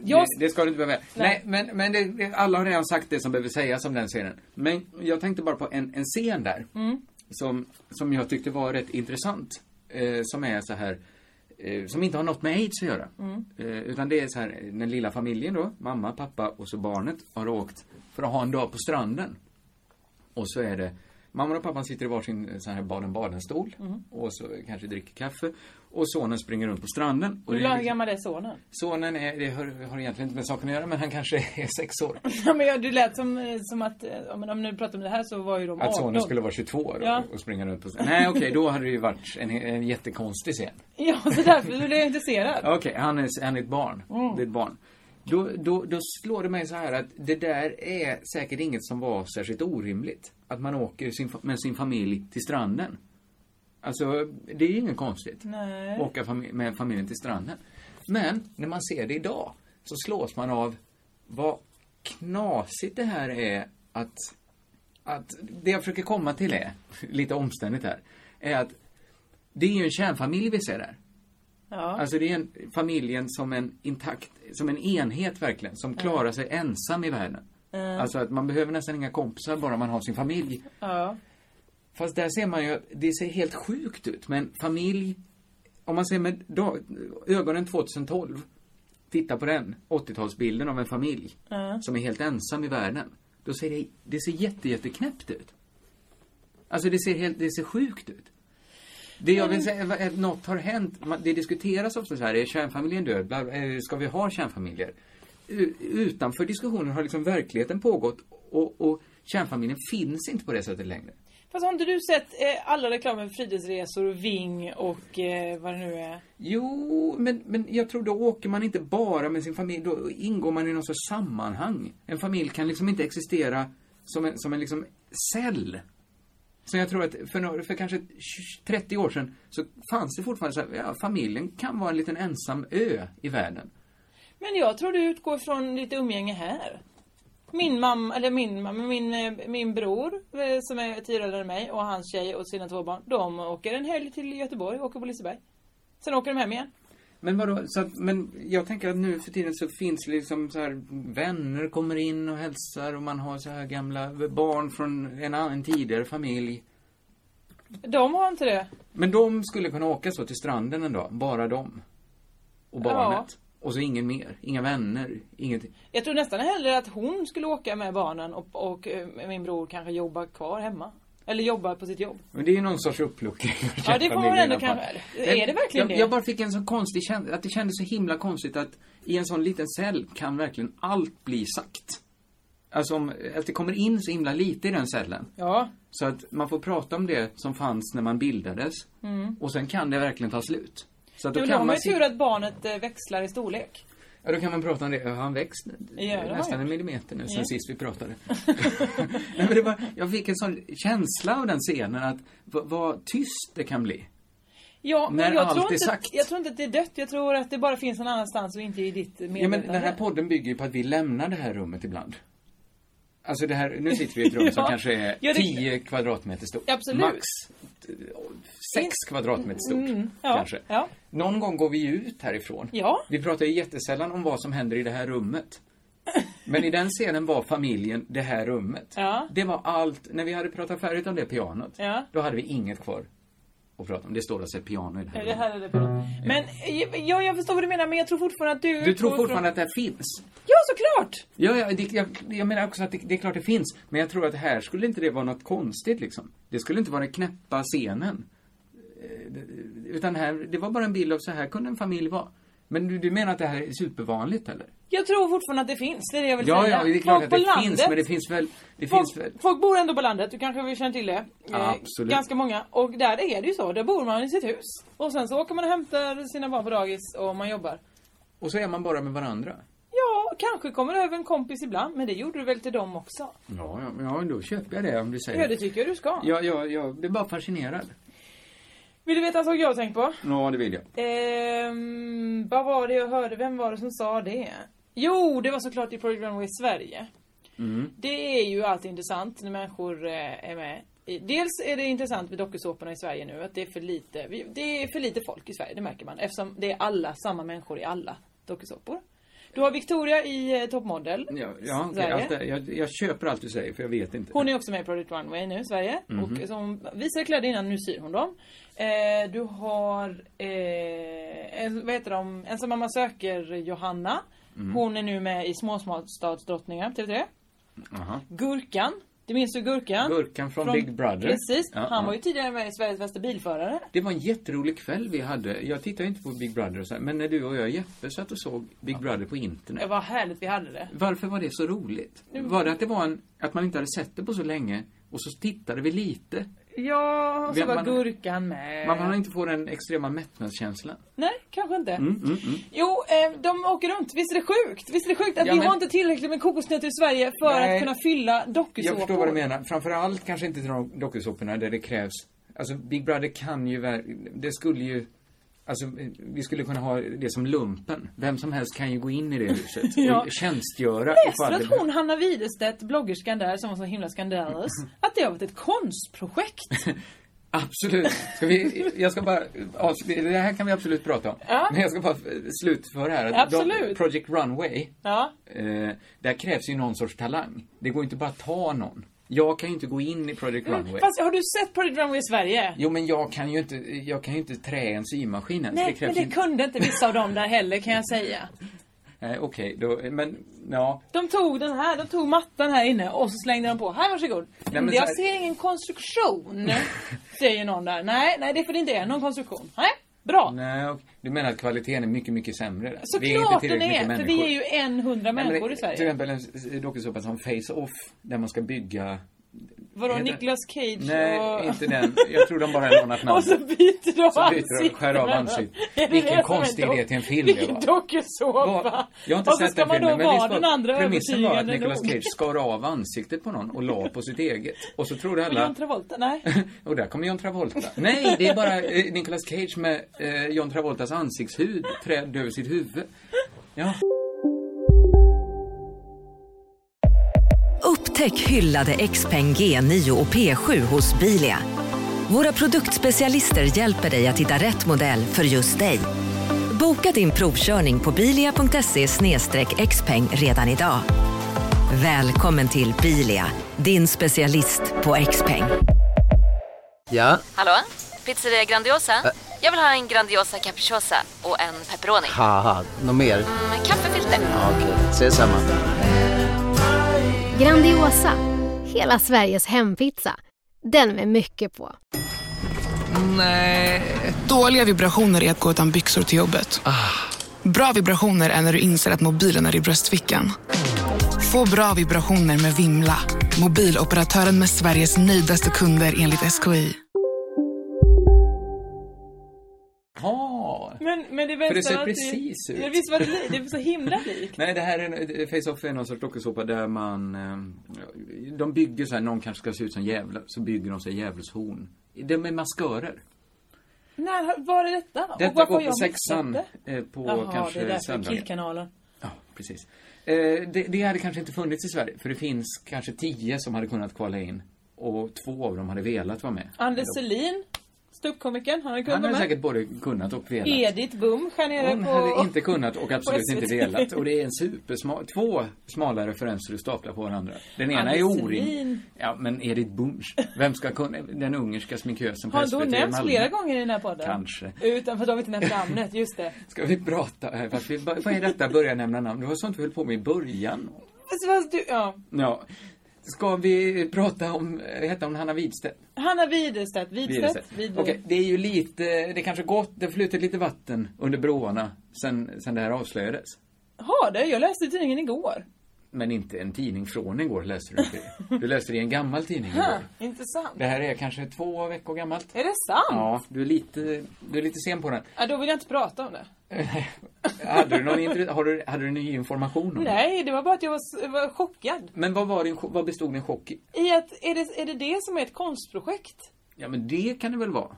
G: Jag-
H: Det, det ska du inte behöva. Nej, men, men det- det, alla har redan sagt det som behöver sägas om den serien. Men jag tänkte bara på en, en scen
G: Mm.
H: där. Som, som jag tyckte var rätt intressant. Eh, som är så här. eh, som inte har något med aids att göra.
G: Mm.
H: Eh, utan det är så här, den lilla familjen då, mamma, pappa och så barnet har åkt för att ha en dag på stranden. Och så är det Mamman och pappan sitter i varsin eh, sån här Baden-Baden-stol
G: Mm.
H: och så kanske dricker kaffe. Och sonen springer runt på stranden. Och
G: Hur
H: det är
G: lång- hur
H: liksom,
G: gammal är sonen?
H: sonen är, det har, har egentligen inte med saken att göra, men han kanske är sex år.
G: Ja, men jag, du lät som, eh, som att, eh, ja, men om ni pratar om det här så var ju de 18.
H: Att sonen skulle vara 22 då,
G: Ja.
H: och springa runt på stranden. Nej, okej, då hade det ju varit en, en jättekonstig scen.
G: Ja, så därför blev jag intresserad.
H: Okej, han, är, han är ett barn. Det är ett barn. Då, då, då slår det mig så här att det där är säkert inget som var särskilt orimligt. Att man åker sin, fa- med sin familj till stranden. Alltså, det är ju inget konstigt.
G: Nej.
H: Åka fami- med familjen till stranden. Men, när man ser det idag, så slås man av vad knasigt det här är att, att det jag försöker komma till är, lite omständigt här, är att det är ju en kärnfamilj vi ser där.
G: Ja.
H: Alltså det är en, familjen som en intakt, som en enhet verkligen, som klarar sig ensam i världen. Alltså att man behöver nästan inga kompisar bara man har sin familj.
G: ja.
H: Fast där ser man ju att det ser helt sjukt ut, men familj, om man ser med da, ögonen 2012, titta på den, 80-talsbilden av en familj som är helt ensam i världen. Då ser det, det ser jätte, jätteknäppt ut. Alltså det ser helt, det ser sjukt ut. Det jag vill säga är att något har hänt. Man- Det diskuteras ofta så här, är kärnfamiljen död? Bla- eh, Ska vi ha kärnfamiljer? U- Utanför diskussionen har liksom verkligheten pågått och, och kärnfamiljen finns inte på det sättet längre.
G: Fast har inte du sett eh, alla reklamer för fritidsresor och Ving och eh, vad det nu är?
H: Jo, men, men jag tror då åker man inte bara med sin familj, då ingår man i någon sorts sammanhang. En familj kan liksom inte existera som en, som en liksom cell. Så jag tror att för, några- för kanske 20 30 år sedan så fanns det fortfarande så här, ja, familjen kan vara en liten ensam ö i världen.
G: Men jag tror du utgår från lite umgänge här. Min mamma, eller min mamma, min, eh, min bror eh, som är tio år äldre än mig och hans tjej och sina två barn. De åker en helg till Göteborg, åker på Liseberg. Sen åker de hem igen.
H: Men vadå, så att, men jag tänker att nu för tiden så finns det liksom så här, vänner kommer in och hälsar och man har så här gamla barn från en, annan- en tidigare familj.
G: De har inte det.
H: Men de skulle kunna åka så till stranden en dag, bara de. Och barnet. Och så ingen mer, inga vänner, ingenting.
G: Jag tror nästan hellre att hon skulle åka med barnen och, och eh, min bror kanske jobbar kvar hemma. Eller jobbar på sitt jobb.
H: Men det är ju någon sorts uppluckring. av
G: Ja, det får man
H: familjen
G: ändå
H: i alla fall.
G: kanske- är det verkligen
H: jag,
G: det?
H: Jag bara fick en sån konstig känsla, att det kändes så himla konstigt att i en sån liten cell kan verkligen allt bli sagt. Alltså om, att det kommer in så himla lite i den cellen.
G: Ja.
H: Så att man får prata om det som fanns när man bildades. Och sen kan det verkligen ta slut. Så att då
G: Men Mm. de
H: kan
G: har
H: man
G: ju
H: sit-
G: tur att barnet eh, växlar i storlek.
H: Ja, då kan man prata om det. Ja, Han växt
G: det har
H: nästan
G: jag.
H: en millimeter nu sen
G: Ja.
H: sist vi pratade. Nej, men det var, jag fick en sån känsla av den scenen att vad, vad tyst det kan bli.
G: Ja, men
H: När
G: jag
H: allt
G: tror
H: är
G: inte,
H: sagt.
G: Jag tror inte att det är dött. Jag tror att det bara finns någon annanstans och inte i ditt medvetande.
H: Ja, men den här podden bygger ju på att vi lämnar det här rummet ibland. Alltså det här, nu sitter vi i ett rum som
G: Ja.
H: kanske är
G: Ja, det-
H: 10 kvadratmeter stort.
G: Absolut.
H: Max 6 kvadratmeter stort,
G: Mm, ja,
H: kanske.
G: ja.
H: Någon gång går vi ju ut härifrån.
G: Ja.
H: Vi pratar ju jättesällan om vad som händer i det här rummet. Men i den scenen var familjen det här rummet.
G: Ja.
H: Det var allt. När vi hade pratat färdigt om det pianot,
G: Ja.
H: då hade vi inget kvar att prata om. Det står alltså ett piano i det här
G: Det
H: rummet.
G: här är det på något. Men eh, ja, jag förstår vad du menar, men jag tror fortfarande att du...
H: Mm. Du tror fortfarande att det här finns?
G: Ja, såklart!
H: Ja, ja det, jag, jag menar också att det, det är klart det finns. Men jag tror att här skulle inte det vara något konstigt liksom. Det skulle inte vara den knäppa scenen. Eh, det- Utan här, det var bara en bild av så här kunde en familj vara. Men du, du menar att det här är supervanligt eller?
G: Jag tror fortfarande att det finns, det är det jag vill
H: Ja,
G: säga.
H: ja, det är klart
G: Folk
H: att
G: på
H: det
G: landet,
H: finns, men det finns väl, det finns väl.
G: folk, folk bor ändå på landet, du kanske känner till det? Eh,
H: Ja, absolut.
G: Ganska många. Och där är det ju så, där bor man i sitt hus. Och sen så åker man och hämtar sina barn på dagis och man jobbar.
H: Och så är man bara med varandra.
G: Ja, kanske kommer över en kompis ibland, men det gjorde du väl till dem också?
H: Ja, ja, men ja, då köper jag det om du säger
G: Ja, det tycker jag du ska.
H: Eh. Ja, ja, jag blir bara fascinerad.
G: Vill du veta en sak jag har tänkt på?
H: Ja, det vill jag.
G: Ehm, vad var det jag hörde? Vem var det som sa det? Jo, det var såklart i Project Runway Sverige.
H: Mm.
G: Det är ju alltid intressant när människor eh, är med. i- Dels är det intressant med dokusåporna i Sverige nu att det är för lite, vi- det är för lite folk i Sverige, det märker man. Eftersom det är alla, samma människor i alla dokusåpor. Du har Victoria i eh, Top Model.
H: Ja, ja, okej,
G: Sverige.
H: allt det, här. jag, jag köper allt du säger för jag vet inte.
G: Hon är också med i Project Runway nu, Sverige.
H: Mhm.
G: Och som visade kläder innan, nu syr hon dem. Eh, du har, eh, en, vad heter de, Ensam mamma söker Johanna.
H: Mhm.
G: Hon är nu med i Småstadsdrottningar, TV3.
H: Aha.
G: Gurkan. Du minns ju Gurkan?
H: Gurkan från Big Brother.
G: Precis.
H: Ja,
G: han
H: ja.
G: var ju tidigare med i Sveriges bästa bilförare.
H: Det var en jätterolig kväll vi hade. Jag tittar inte på Big Brother och så här, men när du och jag Jeppe satt och såg Big Brother på internet.
G: Det var härligt vi hade det.
H: Varför var det så roligt? Var det att det var en, att man inte hade sett det på så länge och så tittade vi lite?
G: Ja, och så
H: Vem
G: var
H: man-
G: Gurkan med.
H: Man har Mm. inte fått den extrema mättnadskänslan.
G: Nej, kanske inte. Jo, eh, de åker runt. Visst är det sjukt? Visst är det sjukt att
H: Ja,
G: vi
H: men-
G: har inte tillräckligt med kokosnötter i Sverige för
H: Nej.
G: att kunna fylla dokusåpor?
H: Jag förstår vad du menar. Framförallt kanske inte till de dokusåporna där det krävs... Alltså, Big Brother kan ju... ver- Det skulle ju... Alltså, eh, vi skulle kunna ha det som lumpen. Vem som helst kan ju gå in i det huset
G: Ja.
H: och tjänstgöra.
G: Läste
H: ifall
G: du att
H: det-
G: hon, Hanna Widerstedt, bloggerskan där som var så himla skandalös,
H: Mm.
G: att det har varit ett konstprojekt?
H: Absolut. Ska vi, jag ska bara... avs- Det här kan vi absolut prata om.
G: Ja.
H: Men jag ska bara eh, slutföra här. att de-
G: Absolut.
H: Project Runway.
G: Ja.
H: Eh, där krävs ju någon sorts talang. Det går inte bara att ta någon. Jag kan ju inte gå in i Project Runway.
G: Mm, Fast har du sett på Runway i Sverige?
H: Jo, men jag kan ju inte, jag kan ju inte trä en symaskin ens.
G: Nej, men
H: krävs
G: det
H: ju-
G: kunde inte vissa av dem där heller kan jag säga.
H: Nej, Eh, okej, då, men ja.
G: De tog den här, de tog mattan här inne och så slängde de på. Här varsågod.
H: men
G: men
H: så
G: jag
H: här-
G: ser ingen konstruktion. säger någon där. Nej, nej det är för det inte är någon konstruktion. Nej, bra.
H: Nej, och, du menar att kvaliteten är mycket, mycket sämre där? Vi är inte
G: Såklart den
H: tillräckligt
G: är,
H: mycket
G: för
H: människor.
G: vi är ju en hundra
H: Nej, men
G: människor i
H: Till
G: Sverige.
H: exempel en s- s- dokusåpa som Face Off, där man ska bygga...
G: Vadå,
H: heter-
G: Nicolas Cage
H: Nej,
G: och...
H: inte den. Jag tror de bara har lånat namn.
G: Och så byter de
H: Så byter de, skär av ansiktet.
G: Är det
H: Vilken
G: det som är
H: konstig
G: dock-
H: idé till en film det
G: Vilken
H: var.
G: dokusåpa.
H: Var, jag har inte
G: och så
H: sett
G: ska
H: den
G: man då
H: filmen, men
G: vara
H: visst
G: den andra
H: var, premissen var att
G: övertygande
H: Nicolas
G: nog.
H: Cage skar av ansiktet på någon och la på sitt eget. Och så trodde
G: Men John
H: alla...
G: Travolta, nej.
H: Och där kommer John Travolta. Nej, det är bara eh, Nicolas Cage med eh, John Travoltas ansiktshud trädd över sitt huvud. Ja.
I: Upptäck hyllade XPeng G9 och P7 hos Bilia. Våra produktspecialister hjälper dig att hitta rätt modell för just dig. Boka din provkörning på bilia.se xpeng redan idag. Välkommen till Bilia, din specialist på XPeng.
J: Ja,
I: Hallå? Pizzeria Grandiosa? Jag vill ha en Grandiosa capriciosa och en pepperoni.
J: haha, något mer?
I: Med kaffefilter.
J: Ja, Okej, ses samma.
I: Grandiosa, hela Sveriges hempizza. Den med mycket på.
J: Dåliga vibrationer är att gå utan byxor till jobbet.
H: Ah.
J: Bra vibrationer är när du inser att mobilen är i bröstfickan. Få bra vibrationer med Vimla. Mobiloperatören med Sveriges nöjdaste kunder enligt SKI.
H: Ha.
G: Men, men det
H: För det
G: bästa
H: ser
G: var att
H: precis ut.
G: Ja, visst var det li- Det var så himla likt.
H: Nej, det här är, Face-Off är någon sorts dokusåpa där man, eh, de bygger så här, någon kanske ska se ut som djävlar, så bygger de sig djävulshorn. De är maskörer.
G: När har- var är detta? Och varför
H: Detta går
G: har
H: på
G: jag missat
H: sexan
G: det?
H: eh, på
G: Jaha,
H: kanske
G: det är därför
H: söndagen.
G: Killkanalen.
H: Ja, precis. Eh, det, det hade kanske inte funnits i Sverige, för det finns kanske tio som hade kunnat kvala in. Och två av dem hade velat vara med.
G: Anders Selin, ståuppkomikern, han har kunnat
H: Han
G: vara
H: hade
G: med.
H: säkert både kunnat och velat.
G: Edith Bum, skär nere
H: Hon
G: på...
H: hade inte kunnat och absolut
G: på
H: inte
G: SVT.
H: velat. Och det är en supersmal, två smala referenser du staplar på varandra. Den ena
G: Alice
H: är orimlig.
G: Selin.
H: Ja, men Edith Bunch. Vem ska kunna, den ungerska sminkösen på
G: Har
H: SVT
G: då
H: i
G: nämnts
H: Malmö.
G: flera gånger i den här podden?
H: Kanske.
G: Utan för att de inte nämnt namnet, just det.
H: Ska vi prata här? Fast vi, vad är detta, börja nämna namn? Det var sånt vi höll på med i början.
G: Fast, fast du, ja.
H: Ja. Ska vi prata om, eh, hette hon Hanna Widstedt?
G: Hanna Widerstedt, Widstedt, Widstedt.
H: Okej, det är ju lite, det kanske gått, det har flutit lite vatten under broarna sen, sen det här avslöjades.
G: Har det? Jag läste i tidningen igår.
H: Men inte en tidning från igår läste du inte. Du läste det i en gammal tidning
G: Ha,
H: igår.
G: intressant.
H: Det här är kanske två veckor gammalt.
G: Är det sant? Ja.
H: Ja, du är lite, du är lite sen på den.
G: då vill jag inte prata om det.
H: Hade du någon intre- har du, hade du ny information om det?
G: Nej, det var bara att jag var, s- var chockad.
H: Men vad var din, cho- vad bestod din chock i?
G: I att, är det, är det det som är ett konstprojekt?
H: Ja, men det kan det väl vara?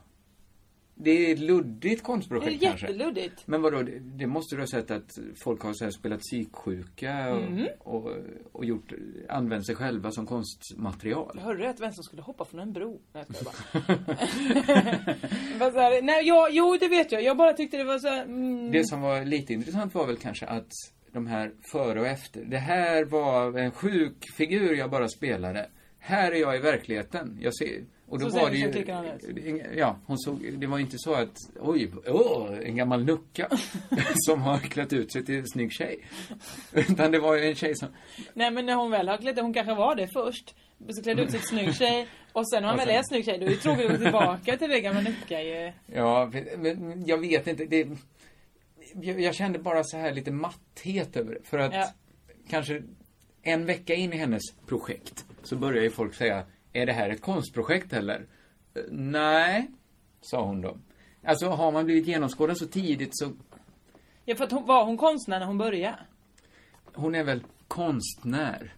H: Det är ett luddigt
G: Det är
H: konstprojekt kanske.
G: jätteluddigt.
H: Men vadå, det, det måste du ha sett att folk har så här spelat psyksjuka och,
G: Mm.
H: och, och gjort, använt sig själva som konstmaterial.
G: Jag hörde att vem som skulle hoppa från en bro. Nej, jag skojar bara. Bara så här, nej jag, jo det vet jag. Jag bara tyckte det var så här, mm,
H: Det som var lite intressant var väl kanske att de här före och efter. Det här var en sjuk figur jag bara spelade. Här är jag i verkligheten. Jag ser... Och då
G: Så ser
H: var det
G: du så
H: ju...
G: klickar han ut.
H: Ja, hon såg... Det var inte så att, oj, åh, en gammal nucka som har klätt ut sig till en snygg tjej. Utan det var ju en tjej som...
G: Nej men när hon väl har klätt hon kanske var det först. Så klädde ut sig till snygg tjej. Och sen när man
H: Och
G: väl
H: sen-
G: är en snygg tjej då är det tråkigt att gå tillbaka till det gamla nucka ju.
H: Ja, men jag vet inte. Det, jag, jag kände bara så här lite matthet över det. För att
G: Ja.
H: kanske en vecka in i hennes projekt så börjar ju folk säga, är det här ett konstprojekt eller? "Eh, Nej, sa hon då. Alltså har man blivit genomskådad så tidigt så
G: Ja för att hon, var hon konstnär när hon började?
H: hon är väl konstnär.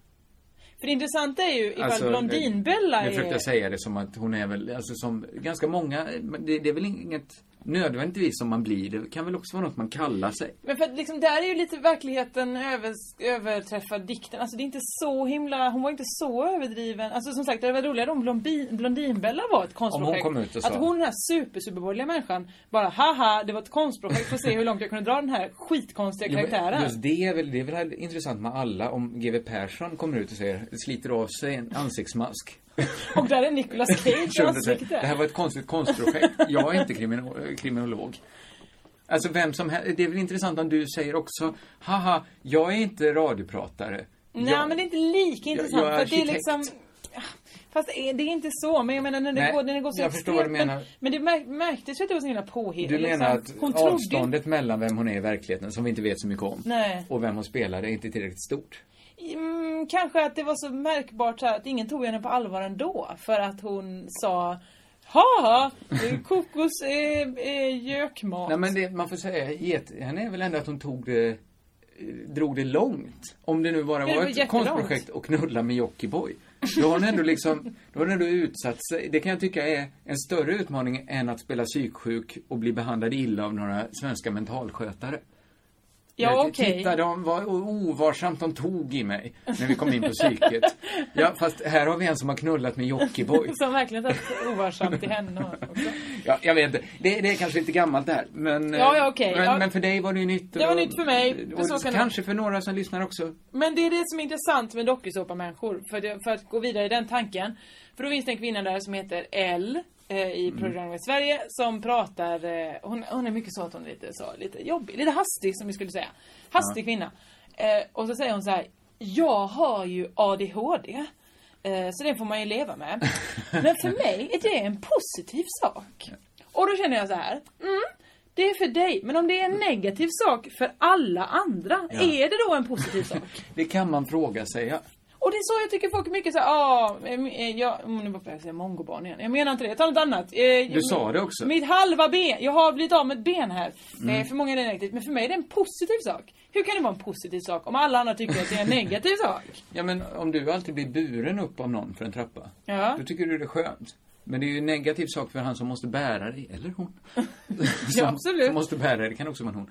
G: För det intressanta är ju ifall
H: Alltså,
G: Blondinbella
H: Nu försökte
G: är...
H: jag säga det som att hon är väl, alltså som ganska många, men det, det är väl inget nödvändigtvis som man blir, det kan väl också vara något man kallar sig.
G: Men för att liksom, där är ju lite verkligheten över, överträffar dikten. Alltså det är inte så himla, hon var inte så överdriven. Alltså som sagt, det hade varit roligare om Blondin, Blondinbella var ett konstprojekt.
H: kom ut och sa-
G: Att hon den här super, superborgerliga människan bara haha, det var ett konstprojekt, får se hur långt jag kunde dra den här skitkonstiga
H: Jo, men
G: karaktären.
H: Just det är väl, det är väl intressant med alla om GW Persson kommer ut och säger, sliter av sig en ansiktsmask.
G: Och där är Nicolas Cage
H: Kände sig,
G: ansikte.
H: det här var ett konstigt konstprojekt. Jag är inte krimino- kriminolog. Alltså vem som helst, det är väl intressant om du säger också, haha, jag är inte radiopratare.
G: Nej
H: jag,
G: men det är inte lika intressant.
H: jag är
G: för att det är
H: arkitekt.
G: liksom... Fast det är det är inte så, men jag menar när det,
H: Nej,
G: går, när det går så
H: jag förstår vad du
G: extremt,
H: menar.
G: Men, men det märk, märktes ju att det var så himla påhitt.
H: Du menar att
G: liksom. Hon trodde ju-
H: avståndet mellan vem hon är i verkligheten, som vi inte vet så mycket om,
G: Nej.
H: och vem hon spelar är inte tillräckligt stort.
G: Mm, kanske att det var så märkbart så här, att ingen tog henne på allvar ändå. För att hon sa Ha, eh, kokos är eh, gökmat.
H: Nej men det, man får säga, get, henne är väl ändå att hon tog det, eh, drog det långt. Om det nu bara
G: det var
H: var ett
G: jättelångt.
H: konstprojekt och knulla med Jockiboi. Då har hon ändå liksom, då har hon ändå utsatt sig. Det kan jag tycka är en större utmaning än att spela psyksjuk och bli behandlad illa av några svenska mentalskötare.
G: ja
H: Jag-
G: okej.
H: Titta, de var ovarsamt de tog i mig när vi kom in på psyket. ja, fast här har vi en som har knullat med Jockiboi.
G: Som verkligen satt ovarsamt till henne också.
H: Ja, jag vet inte. Det, det är kanske lite gammalt där. Men, eh,
G: Ja, ja, okej.
H: men,
G: Ja.
H: men för dig var det ju nytt.
G: Det var nytt för mig, för
H: och
G: så kan det-
H: kanske för några som lyssnar också.
G: Men det är det som är intressant med dokusåpamänniskor, för, det- för att gå vidare i den tanken. För då finns det en kvinna där som heter L eh, i programmet Sverige som pratar, eh, hon, hon är mycket så att hon är lite så, lite jobbig, lite hastig som vi skulle säga. Hastig kvinna. Eh, och så säger hon så här, jag har ju ADHD. Eh, så det får man ju leva med. Men för mig är det en positiv sak. Och då känner jag så här, mm, det är för dig, men om det är en negativ sak för alla andra, är det då en positiv sak?
H: Det kan man fråga sig. Ja.
G: Och det är så jag tycker folk är mycket såhär, ah, em, eh, jag, mm, nu börjar jag säga mongobarn igen. Jag menar inte det, jag tar något annat. Eh,
H: Du sa det också. Mm.
G: Mitt halva ben, jag har blivit av med ett ben här. Eh, för många är det negativt, men för mig är det en positiv sak. Hur kan det vara en positiv sak om alla andra tycker att det är en negativ sak?
H: ja, men om du alltid blir buren upp av någon för en trappa,
G: Ja.
H: då tycker du det är skönt. Men det är ju en negativ sak för han som måste bära dig, eller hon.
G: Ja, absolut.
H: Som måste bära dig, det kan också vara en hon.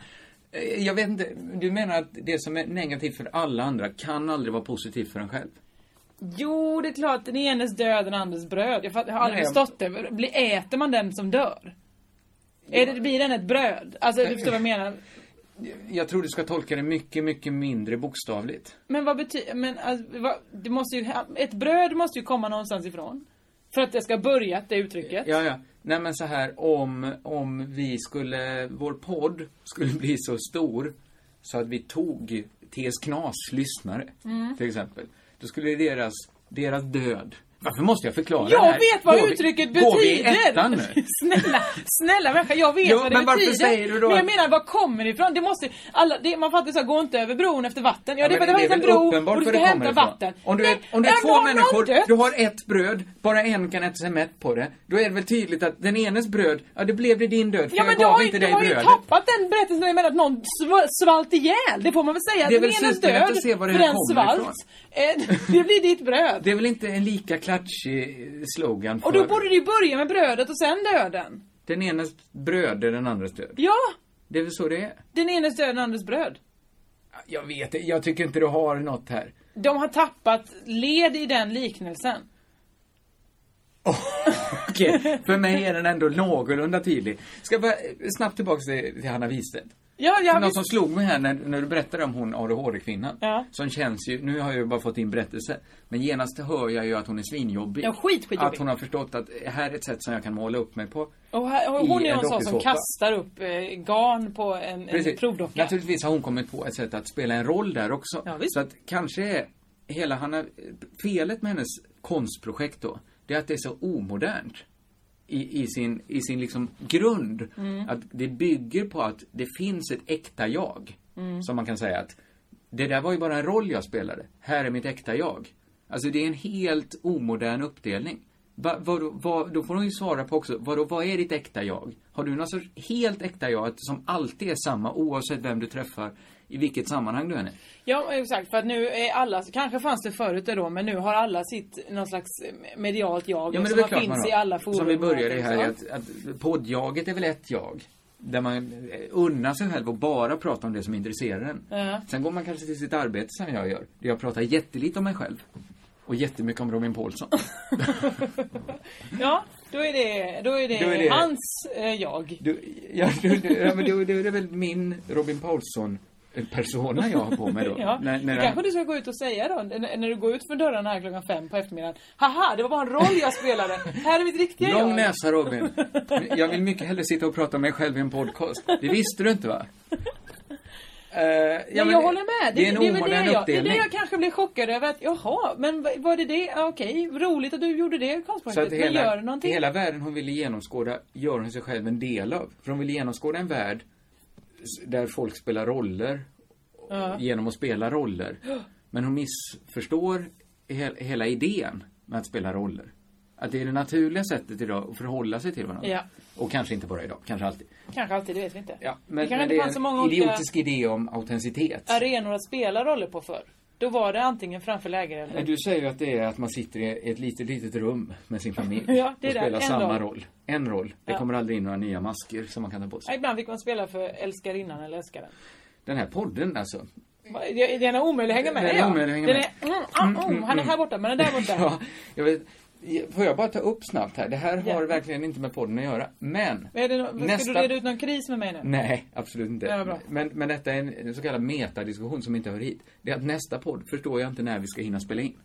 H: Eh, Jag vet inte, du menar att det som är negativt för alla andra kan aldrig vara positivt för en själv?
G: Jo, det är klart, den enes död, den andres bröd. Jag, fatt, jag har aldrig
H: Nej.
G: förstått det. Blir- Äter man den som dör? Är det, blir den ett bröd? Alltså, du förstår vad jag menar.
H: Jag tror du ska tolka det mycket, mycket mindre bokstavligt.
G: Men vad betyder, men alltså, vad, det måste ju, ett bröd måste ju komma någonstans ifrån. För att jag ska börja det uttrycket.
H: Ja, ja. Nej, men så här om, om vi skulle, vår podd skulle bli så stor så att vi tog T.S. Knas lyssnare,
G: Mm.
H: till exempel. Då skulle deras, deras död Varför måste jag förklara det
G: Jag
H: här?
G: vet vad
H: Går vi-
G: uttrycket
H: Går vi i
G: betyder!
H: ettan nu?
G: snälla, snälla människa, jag vet
H: Jo,
G: vad det
H: men varför
G: betyder.
H: säger du då
G: Men jag
H: att-
G: menar, var kommer det ifrån? Det måste, alla, det, man fattar ju såhär, gå inte över bron efter vatten. Ja, det,
H: men
G: det, det var
H: är
G: inte en
H: väl
G: bro
H: uppenbart
G: och du
H: var
G: ska
H: det
G: hämta
H: kommer ifrån.
G: vatten.
H: Om du är,
G: Nej,
H: om du är
G: men
H: två
G: har någon
H: människor,
G: dött?
H: du har ett bröd, bara en kan äta sig mätt på det. Då är det väl tydligt att den enes bröd, ja det blev det din död för
G: Ja men
H: jag
G: du
H: gav
G: har, ju,
H: inte
G: du
H: dig
G: har ju
H: brödet.
G: tappat den berättelsen när jag menar att någon sv- svalt ihjäl. Det får man väl säga.
H: Det är väl
G: Den enes
H: superlätt att
G: död
H: se var det
G: för
H: här
G: en
H: kommer
G: svalt.
H: ifrån.
G: Eh, Det blir ditt bröd.
H: Det är väl inte en lika klatschig eh, slogan för
G: Och då borde du ju börja med brödet och sen döden.
H: den enes bröd är den andres död.
G: Ja!
H: Det är väl så det är?
G: Den enes död, den andres bröd.
H: Jag vet inte, jag tycker inte du har något här.
G: De har tappat led i den liknelsen.
H: Okej, för mig är den ändå någorlunda tydlig. Ska jag bara eh, snabbt tillbaka till till Hanna Wistedt.
G: Ja, jag
H: Något
G: visst.
H: som slog mig här när, när du berättade om hon ADHD-kvinnan.
G: Ja.
H: Som känns ju, nu har jag ju bara fått in berättelse. Men genast hör jag ju att hon är svinjobbig.
G: Ja, skit, skitjobbig.
H: Att hon har förstått att här är ett sätt som jag kan måla upp mig på.
G: Och här, och hon
H: I
G: är
H: en
G: en sån som
H: dokusåpa.
G: kastar upp eh, garn på en, en provdocka.
H: Naturligtvis har hon kommit på ett sätt att spela en roll där också.
G: Ja, visst.
H: Så att kanske är hela Hanna, felet med hennes konstprojekt då, det är att det är så omodernt. I, i sin, i sin liksom grund. Att det bygger på att det finns ett äkta jag. Som man kan säga att det där var ju bara en roll jag spelade. Här är mitt äkta jag. Alltså det är en helt omodern uppdelning. Va, vad, vad, då får hon ju svara på också, vadå, vad är ditt äkta jag? Har du någon sorts helt äkta jag att- som alltid är samma oavsett vem du träffar, i vilket sammanhang du än är?
G: Ja, exakt. För att nu är alla, kanske fanns det förut då, men nu har alla sitt någon slags eh, medialt jag
H: Ja, men det är
G: som
H: väl klart man
G: finns
H: har.
G: i alla forum.
H: Som vi började i här,
G: Ja.
H: är att, att poddjaget är väl ett jag. Där man eh, unnar sig själv att bara prata om det som intresserar en.
G: Ja.
H: Sen går man kanske till sitt arbete som jag gör. Där jag pratar jättelite om mig själv. Och jättemycket om Robin Paulsson.
G: ja, då är det, då är det,
H: Då är det-
G: hans eh, jag.
H: Du, ja, du, du, ja, men du, du är väl min Robin Paulsson-persona jag har på mig då.
G: Ja,
H: När- när
G: det
H: han-
G: kanske du ska gå ut och säga då, när när du går ut från dörren här klockan fem på eftermiddagen. Haha, det var bara en roll jag spelade. Här är mitt riktiga
H: Lång
G: jag.
H: näsa Robin. Jag vill mycket hellre sitta och prata om mig själv i en podcast. Det visste du inte va? Eh, ja,
G: Ja, men jag håller med. Det,
H: det är
G: det,
H: en
G: det, är väl
H: omodern
G: det, jag, det är
H: uppdelning.
G: det jag kanske blev chockad över. Att, jaha, men v- var det det? Ja, Okej, roligt att du gjorde det
H: Så att
G: konstprojektet. Men gör det
H: hela,
G: någonting?
H: hela världen hon ville genomskåda gör hon sig själv en del av. För hon vill genomskåda en värld s- där folk spelar roller genom att spela roller. Men hon missförstår he- hela idén med att spela roller. Att det är det naturliga sättet idag att förhålla sig till varandra.
G: Ja.
H: Och kanske inte bara idag, kanske alltid.
G: Kanske alltid, det vet vi inte.
H: Ja,
G: det
H: men,
G: kanske
H: men
G: inte
H: det är
G: fanns så
H: en
G: många olika
H: idiotisk idé om autenticitet.
G: arenor att spela roller på förr. Då var det antingen framför lägerelden.
H: Du säger ju att det är att man sitter i ett litet, litet rum med sin familj
G: Ja, det är
H: och
G: det.
H: spelar
G: En
H: samma
G: roll.
H: roll. En roll. Det
G: Ja.
H: kommer aldrig in några nya masker som man kan ta på sig.
G: Ibland fick man spela för älskarinnan eller älskaren.
H: Den här podden alltså.
G: Va, det- Den är omöjlig att hänga med.
H: Den är
G: ja.
H: omöjlig att hänga
G: Den
H: med.
G: är- mm, ah, mm, han är här borta, men den där borta.
H: Ja, jag vet, får jag bara ta upp snabbt här? Det här har
G: Ja.
H: verkligen inte med podden att göra. Men.
G: Är det, nå- Ska du reda ut någon kris med mig nu?
H: Nej, absolut inte.
G: Ja, bra.
H: men, men detta är en, en så kallad metadiskussion som inte hör hit. Det är att nästa podd förstår jag inte när vi ska hinna spela in.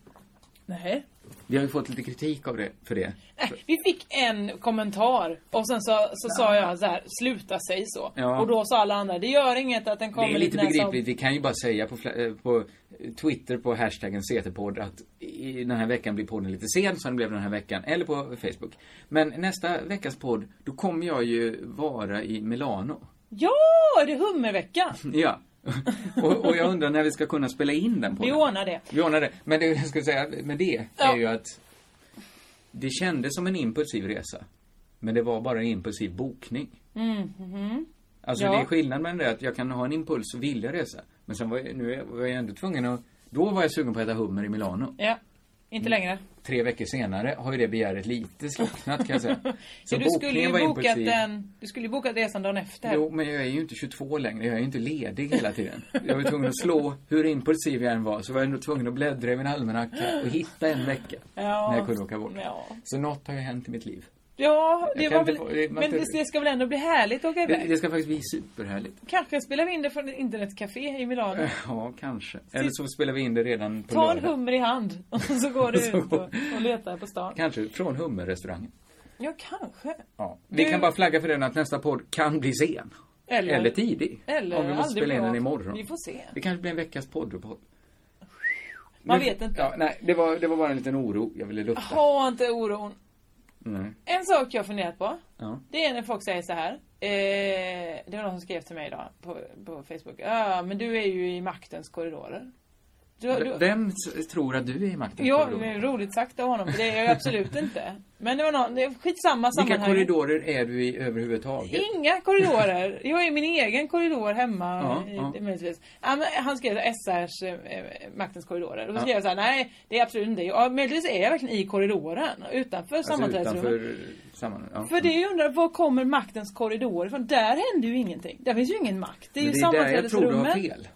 G: Nej.
H: Vi har ju fått lite kritik av det, för det.
G: Nej, Vi fick en kommentar och sen så, så sa jag så här, sluta säg så.
H: Ja.
G: Och då sa alla andra, det gör inget att den
H: Det
G: kommer
H: är lite
G: när som-"
H: begripligt. Vi kan ju bara säga på, fla- eh, på Twitter på hashtaggen CT-podd att i den här veckan blir podden lite sen som den blev den här veckan. Eller på Facebook. Men nästa veckas podd, då kommer jag ju vara i Milano.
G: Ja, är det hummervecka?
H: Ja. och, och jag undrar när vi ska kunna spela in den
G: Vi
H: podden.
G: ordnar det.
H: Vi ordnar det. Men det jag skulle säga med det är
G: Ja.
H: ju att det kändes som en impulsiv resa. Men det var bara en impulsiv bokning. Alltså
G: Mm-hmm. Ja.
H: det är skillnad mellan det att jag kan ha en impuls och vilja resa. Men sen var jag, nu är- var jag ändå tvungen att, då var jag sugen på att äta hummer i Milano.
G: Ja, inte
H: Mm.
G: längre.
H: Tre veckor senare har ju det begäret lite slocknat kan jag säga. Så
G: Ja, du skulle
H: bokningen
G: ju
H: var
G: bokat
H: impulsiv.
G: den, du skulle ju bokat resan dagen efter.
H: Jo, men jag är ju inte 22 längre. Jag är ju inte ledig hela tiden. Jag var tvungen att slå, hur impulsiv jag än var, så var jag ändå tvungen att bläddra i min almanacka och hitta en vecka.
G: Ja.
H: När jag kunde åka bort.
G: Ja.
H: Så något har ju hänt i mitt liv.
G: Ja, det
H: Jag
G: var
H: kan
G: väl,
H: inte få- det- man
G: men
H: inte-
G: det ska väl ändå bli härligt att åka
H: Det,
G: iväg?
H: det ska faktiskt bli superhärligt.
G: Kanske spelar vi in det från ett internetcafé i Milano.
H: Ja, kanske. Eller så spelar vi in det redan Eh, på
G: Ta en
H: lördag.
G: hummer i hand och så går du
H: Så
G: ut
H: går-
G: och, och letar på stan.
H: Kanske från hummerrestaurangen.
G: Ja, kanske.
H: Ja. Vi
G: Du-
H: kan bara flagga för den att nästa podd kan bli sen.
G: Eller-
H: Eller tidig.
G: Eller
H: om vi måste
G: aldrig
H: spela in
G: bra.
H: den imorgon.
G: Vi får se.
H: Det kanske blir en veckas podd.
G: Man vet inte.
H: Ja, nej, det var, det var bara en liten oro jag ville lufta.
G: Ha inte oron.
H: Nej.
G: En sak jag har funderat på.
H: Ja.
G: Det är när folk säger så här. Eh, det var någon som skrev till mig idag på, på Facebook. Ja, men du är ju i maktens korridorer. Du, du,
H: Vem s- tror att du är i maktens
G: ja,
H: korridor?
G: men roligt sagt av honom. för Det är jag ju absolut inte. Men det var någon, det är skitsamma
H: Vilka
G: sammanhang.
H: korridorer är du i överhuvudtaget?
G: Inga korridorer. Jag är i min egen korridor hemma.
H: Ja,
G: i-
H: ja.
G: möjligtvis. Ja, men Han skrev SRs eh, Maktens korridorer. Och så skrev jag så här, nej det är absolut inte. Ja, möjligtvis är jag verkligen i korridoren. Utanför
H: alltså
G: sammanträdesrummet.
H: utanför samman... ja.
G: För det jag undrar, var kommer maktens korridor ifrån? Där händer ju ingenting. Där finns ju ingen makt. Det är
H: Men
G: ju
H: det är där jag tror du har
G: sammanträdesrummen.
H: fel.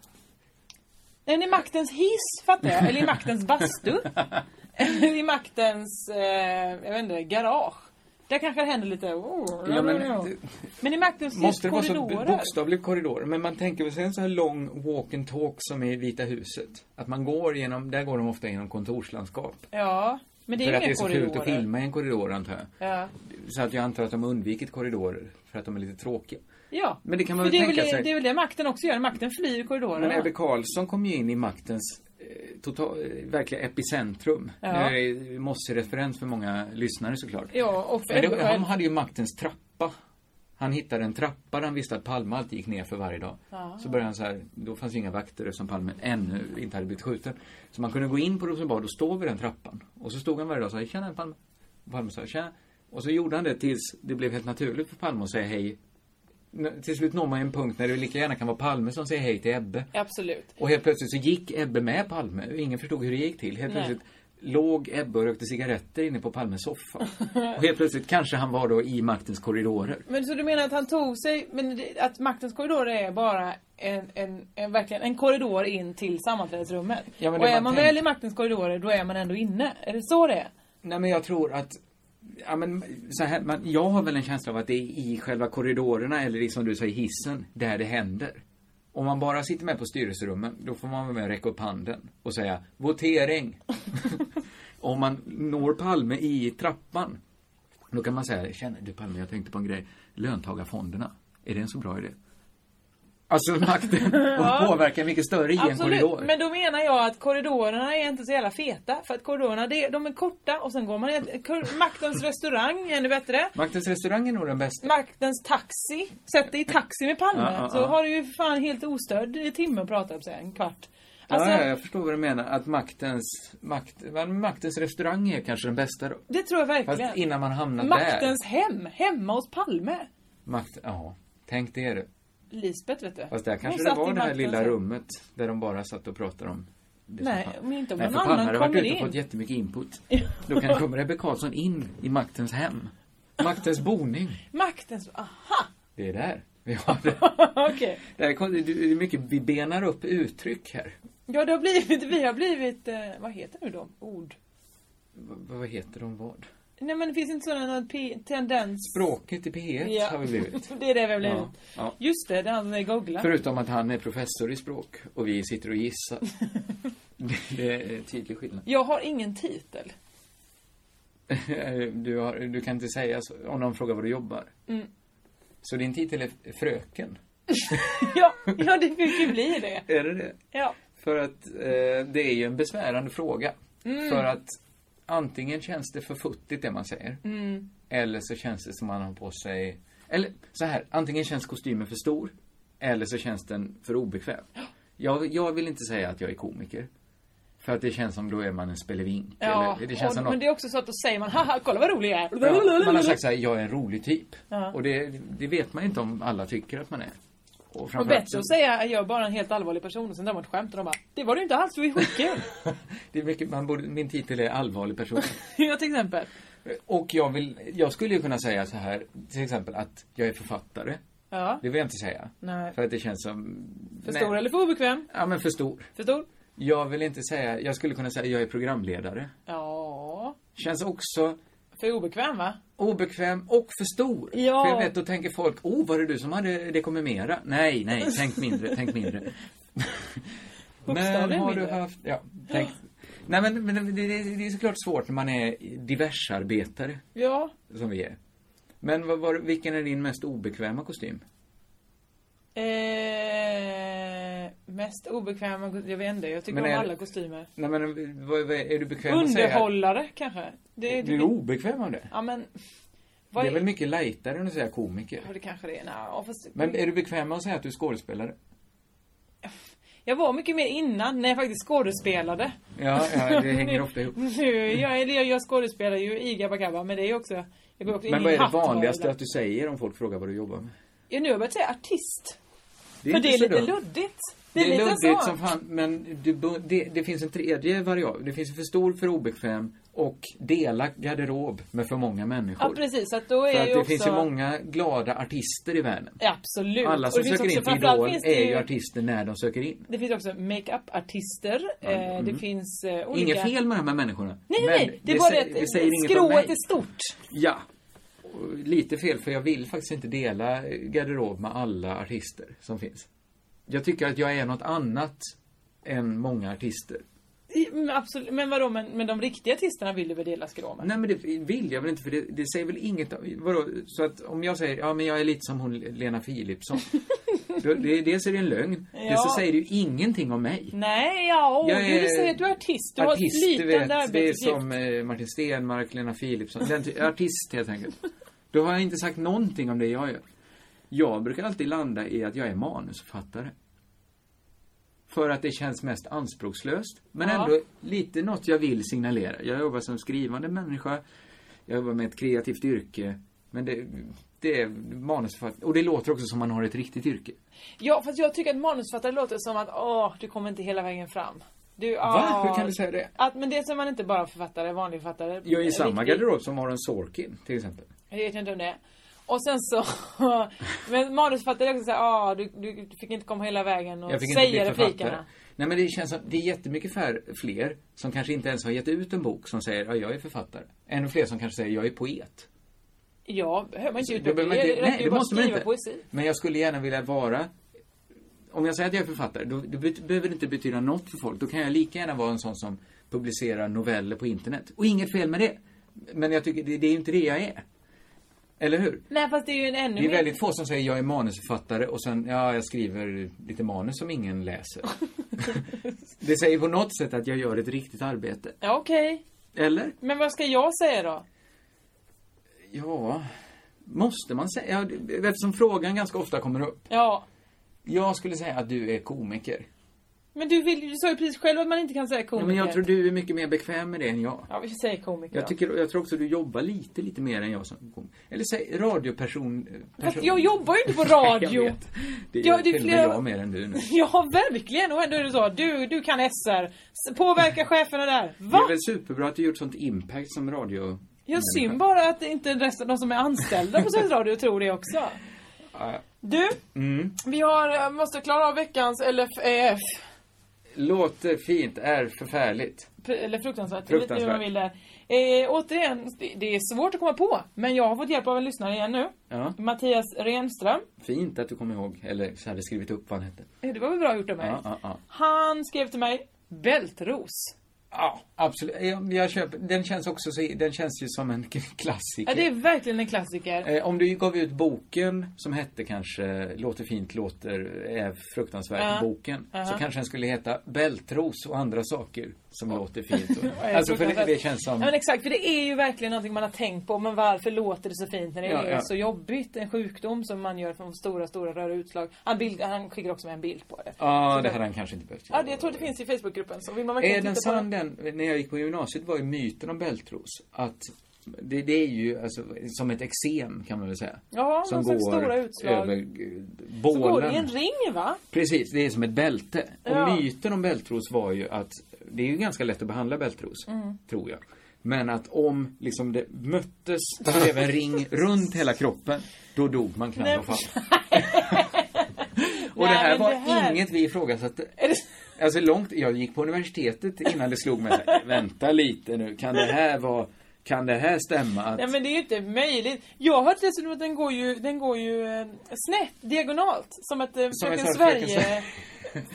G: Den är maktens hiss, fattar jag. Eller i maktens bastu. Eller i maktens, eh, jag vet inte, garage. Där kanske det händer lite... Oh,
H: Ja, men-
G: men i Magnus
H: Måste det vara så
G: korridorer.
H: bokstavligt korridor? Men man tänker väl sig en sån här lång walk and talk som är i Vita huset. Att man går genom, där går de ofta genom kontorslandskap.
G: Ja, men det är
H: för
G: ju
H: att det är
G: inga
H: så fult att
G: korridorer.
H: filma i en korridor antar jag.
G: Ja.
H: Så att jag antar att de har undvikit korridorer för att de är lite tråkiga.
G: ja,
H: Men det kan man
G: För
H: väl
G: det är
H: tänka
G: väl,
H: sig.
G: Det är väl det makten också gör. Makten flyr
H: Men
G: korridorerna.
H: Ebbe Carlsson kom ju in i maktens eh, total, eh, verkliga epicentrum.
G: Ja.
H: Det här är Mosse-referens för många lyssnare såklart.
G: Ja, och för
H: Men
G: Ebbe
H: det, han
G: själv.
H: hade ju maktens trappa. Han hittade en trappa där han visste att Palme alltid gick ner för varje dag. Så började han så här, då fanns ju inga vakter eftersom Palme ännu inte hade blivit skjuten. Så man kunde gå in på Rosenbad och stå vid den trappan. Och så stod han varje dag och sa, tjena Palme. Och Palme sa, tjena. Och så gjorde han det tills det blev helt naturligt för Palme att säga hej. N- Till slut når man ju en punkt när det lika gärna kan vara Palme som säger hej till Ebbe.
G: Absolut.
H: Och helt plötsligt så gick Ebbe med Palme. Ingen förstod hur det gick till.
G: Nej.
H: Helt plötsligt låg Ebbe och rökte cigaretter inne på Palmes soffa. Och helt plötsligt kanske han var då i maktens korridorer.
G: Men så du menar att han tog sig, men det, att maktens korridorer är bara en, en, en, verkligen en korridor in till sammanträdesrummet.
H: Ja, men
G: och
H: det
G: är
H: man
G: man
H: tänker-
G: väl i maktens korridorer, då är man ändå inne. Är det så det är?
H: Nej men jag tror att Ja, men så här, man, jag har väl en känsla av att det är i själva korridorerna eller i, som du säger hissen, där det händer. Om man bara sitter med på styrelserummen, då får man väl med räcka upp handen och säga votering. Om man når Palme i trappan, då kan man säga, känner du Palme, jag tänkte på en grej. Löntagarfonderna, är det en så bra idé? Alltså makten, och påverkar mycket större i en korridor.
G: men då menar jag att korridorerna är inte så jävla feta. För att korridorerna, det, de är korta och sen går man i ett- kor- Maktens restaurang är ännu bättre.
H: Maktens restaurang är nog den bästa.
G: Maktens taxi. Sätt dig i taxi med Palme.
H: Ja, ja,
G: Så
H: ja.
G: har du ju för fan helt ostörd i timme att prata om sig, en kvart. Alltså,
H: ja, ja, jag förstår vad du menar. Att maktens, makt, vad- maktens restaurang är kanske den bästa då.
G: det tror jag verkligen.
H: Fast innan man hamnar där.
G: Maktens hem, hemma hos Palme.
H: Makt, ja, tänk det du.
G: Lisbeth vet du.
H: Fast där
G: Hon
H: kanske det
G: satt
H: var
G: i
H: det här
G: maktens
H: lilla
G: hem.
H: rummet där de bara satt och pratade om det
G: Nej,
H: som fan-
G: men inte om
H: Nej,
G: någon
H: för Palme
G: annan
H: hade varit
G: kommer
H: ute och
G: in.
H: fått jättemycket input. Då kan kommer Ebbe Carlsson in i maktens hem. Maktens boning.
G: Maktens, aha!
H: Det är där vi har det.
G: Okej.
H: Det här kom- det är mycket, vi benar upp uttryck här.
G: Ja, det har blivit, vi har blivit, eh, vad heter nu de? Ord.
H: V- vad heter de vad?
G: Nej men det finns inte sådana p- tendens.
H: Bråket i P1
G: Ja.
H: har vi blivit.
G: Det är det vi har blivit.
H: Ja, ja.
G: Just det, det är han som är googla.
H: Förutom att han är professor i språk och vi sitter och gissar. Det- det är tydlig skillnad.
G: Jag har ingen titel.
H: Du, har, du kan inte säga så, om någon frågar var du jobbar. Så din titel är fröken?
G: Ja, ja det fick ju bli det.
H: Är det det?
G: Ja.
H: För att eh, det är ju en besvärande fråga.
G: Mm.
H: För att antingen känns det för futtigt det man säger.
G: Mm.
H: Eller så känns det som man har på sig... Eller så här, antingen känns kostymen för stor. Eller så känns den för obekväm. Jag, jag vill inte säga att jag är komiker. För att det känns som då är man en spelevink.
G: Ja,
H: eller, det känns som
G: och, men det är också så att då säger man haha, kolla vad rolig jag är.
H: Ja, man har sagt så här, jag är en rolig typ. Och det, det vet man inte om alla tycker att man är. Och
G: och
H: framförallt
G: bättre att säga jag är bara en helt allvarlig person och sen drar man ett skämt och de bara Det var du inte alls, du är skitkul.
H: det är mycket, man borde, min titel är allvarlig person.
G: ja till exempel.
H: Och jag vill, jag skulle ju kunna säga så här, till exempel att jag är författare.
G: Ja.
H: Det vill jag inte säga.
G: Nej.
H: För att det känns som...
G: För
H: nej.
G: stor eller för obekväm?
H: Ja, men för stor.
G: För stor?
H: Jag vill inte säga, jag skulle kunna säga jag är programledare.
G: Ja.
H: Känns också
G: För obekväm va?
H: obekväm och för stor.
G: Ja.
H: För jag vet, då tänker folk, oh, var det du som hade det kommer mera? Nej, nej, tänk mindre, tänk mindre. men
G: Bokstavligen
H: har du
G: mindre.
H: haft, ja, tänk. Nej men, men det, det, det är såklart svårt när man är diversarbetare,
G: Ja.
H: som vi är. Men vad var, vilken är din mest obekväma kostym?
G: Eh, mest obekväma, jag vet inte, jag tycker
H: Men är-
G: om alla kostymer.
H: Nej men, vad, vad, är du bekväm att säga?
G: Underhållare kanske? Det, är-
H: Du är obekväm av det?
G: Ja men... Vad
H: Det
G: är,
H: är väl mycket lightare än att säga komiker?
G: Ja, det kanske det är. Nå, fast,
H: Men är du bekväm med att säga att du är skådespelare?
G: Jag var mycket mer innan när jag faktiskt skådespelade.
H: Ja, ja det hänger ofta ihop.
G: Nu, jag, eller jag, jag skådespelar ju i Gabba Gabba men det är ju också... Jag går också in
H: Men
G: i
H: vad är det
G: hatt och-
H: vanligaste att du säger om folk frågar vad du jobbar med?
G: Ja, nu har jag börjat säga artist.
H: är
G: för
H: inte
G: det är
H: så
G: lite
H: dumt.
G: luddigt.
H: Det är,
G: lite
H: luddigt
G: så.
H: som fan, men du, bu- det, det finns en tredje variabel. Det finns för stor, för obekväm och dela garderob med för många människor.
G: Ja precis, att då är
H: För att
G: ju
H: det
G: också...
H: finns ju många glada artister i världen.
G: Ja, absolut.
H: Alla som
G: Och det finns
H: söker in
G: också-
H: till
G: framförallt
H: Idol
G: finns det
H: är ju artister när de söker in.
G: Det finns också makeup-artister. Eh, det finns eh, olika...
H: Inget fel med de här människorna.
G: Nej,
H: mm. men
G: nej, nej. Det är bara
H: sä-
G: det
H: det säger
G: att
H: inget om mig.
G: skrået är stort.
H: Ja. Och Lite fel, för jag vill faktiskt inte dela garderob med alla artister som finns. Jag tycker att jag är något annat än många artister.
G: I- Men, absolut, men vadå, men, men de riktiga artisterna vill du väl dela skrå med?
H: Nej men det vill jag väl inte för det, det säger väl inget om- vadå, Så att om jag säger, ja men jag är lite som hon Lena Philipsson. då, det, dels är det en lögn, dels så
G: Ja.
H: säger det ju ingenting om mig.
G: Nej, ja, åh,
H: Jag
G: du
H: är-
G: säger att du är artist. Du
H: Artist,
G: har ett
H: du
G: flytande
H: vet. Det är
G: arbetsuppgift.
H: som eh, Martin Stenmark, Lena Philipsson. Den, ty- artist helt enkelt. Då har jag inte sagt någonting om det jag gör. Jag brukar alltid landa i att jag är manusförfattare. För att det känns mest anspråkslöst. Men
G: Ja.
H: ändå lite något jag vill signalera. Jag jobbar som skrivande människa. Jag jobbar med ett kreativt yrke. Men det, det är manusförfattare. Och det låter också som man har ett riktigt yrke.
G: Ja, fast jag tycker att manusförfattare låter som att åh, du kommer inte hela vägen fram. Du,
H: Va?
G: åh.
H: Hur kan du säga det?
G: Att, men det är som man inte bara författare, vanlig författare.
H: Jag är i samma
G: Riktigt.
H: garderob som Aron Sorkin till exempel.
G: Jag vet inte om det. är. Och sen så, men manusförfattare är också såhär, ah, du, du fick inte komma hela vägen och
H: Jag fick inte
G: säga
H: bli författare.
G: replikerna.
H: Nej men det känns som, det är jättemycket fär, fler som kanske inte ens har gett ut en bok som säger, ja jag är författare. Ännu fler som kanske säger, jag är poet.
G: Ja, behöver man inte
H: Då
G: utöka
H: behöver man inte-
G: räcker ju bara att skriva Poesi.
H: Men jag skulle gärna vilja vara, om jag säger att jag är författare, då, då bet- behöver det inte betyda något för folk. Då kan jag lika gärna vara en sån som publicerar noveller på internet. Och inget fel med det. Men jag tycker, det, det är ju inte det jag är. Eller hur?
G: Nej, fast det är ju en ännu
H: Det är
G: mer...
H: väldigt få som säger jag är manusförfattare och sen, ja, jag skriver lite manus som ingen läser. det säger på något sätt att jag gör ett riktigt arbete.
G: Ja, okej.
H: Eller?
G: Men vad ska jag säga då?
H: Ja, måste man säga? Ja, det- Eftersom frågan ganska ofta kommer upp.
G: Ja.
H: Jag skulle säga att du är komiker.
G: Men du, vill, du sa ju precis själv att man inte kan säga komiker.
H: Ja, men jag tror du är mycket mer bekväm med det än jag.
G: Ja, vi säger komiker
H: Jag,
G: då.
H: tycker, jag tror också du jobbar lite, lite mer än jag som komiker. Eller säg radioperson...
G: Fast
H: person.
G: jag jobbar ju inte på
H: Jag
G: radio.
H: vet. Det är,
G: Ja, det är
H: till och med
G: flera-
H: jag mer än du nu.
G: ja, verkligen. Och ändå är det så. Du, du kan SR. S- Påverka cheferna där.
H: Det är
G: Va?
H: väl superbra att du gjort sånt impact som radio...
G: Jag synd bara att inte resten, de som är anställda på Sveriges Radio tror det också. Du,
H: Mm.
G: vi har, eh, måste klara av veckans eh, LFEF.
H: Låter fint, är förfärligt.
G: Pr- Eller fruktansvärt.
H: Fruktansvärt.
G: Lite hur man vill där. Eh, återigen, det, det är svårt att komma på. Men jag har fått hjälp av en lyssnare igen nu.
H: Ja.
G: Mattias Renström.
H: Fint att du kommer ihåg, eller så hade skrivit upp vad han hette.
G: Eh, Det var väl bra gjort av mig?
H: Ja, ja, ja.
G: Han skrev till mig, bältros.
H: Ja, absolut. Jag, jag köper. Den känns också så, den känns ju som en klassiker.
G: Ja, det är verkligen en klassiker.
H: Eh, Om du gav ut boken som hette kanske Låter fint, låter är fruktansvärt boken. Så kanske den skulle heta Bältros och andra saker som låter fint. Och,
G: Eh,
H: alltså för det,
G: fruktansvärt.
H: det känns
G: Ja, men
H: som...
G: exakt, för det är ju verkligen någonting man har tänkt på. Men varför låter det så fint när det
H: Ja,
G: är
H: ja.
G: så jobbigt? En sjukdom som man gör från stora, stora röda utslag. Han, bild, han skickar också med en bild på det.
H: Ja, det hade han kanske inte behövt
G: Ja, det, jag tror det finns i Facebookgruppen. Så vill man
H: Är
G: verkligen
H: den
G: titta på
H: sann
G: den.
H: den, när jag gick på gymnasiet var ju myten om bältros att det, det är ju alltså, som ett eksem kan man väl säga.
G: Ja,
H: som
G: någon slags stora utslag.
H: över eh,
G: Så går det i en
H: bålen.
G: ring va?
H: Precis, det är som ett bälte.
G: Ja.
H: Och myten om bältros var ju att det är ju ganska lätt att behandla bältros,
G: Mm.
H: tror jag. Men att om liksom det möttes, det blev en ring runt hela kroppen, då dog man knall och fall. och
G: Nej,
H: det här
G: men
H: var
G: det här-
H: inget vi ifrågasatte.
G: Är det...
H: Alltså långt, jag gick på universitetet innan det slog mig så här, vänta lite nu, kan det här vara, kan det här stämma? Att,
G: Nej men det är ju inte möjligt. Jag har hört dessutom att den går ju, den går ju eh, snett, diagonalt. Som ett eh,
H: en
G: Fröken
H: sån Fröken
G: Sverige...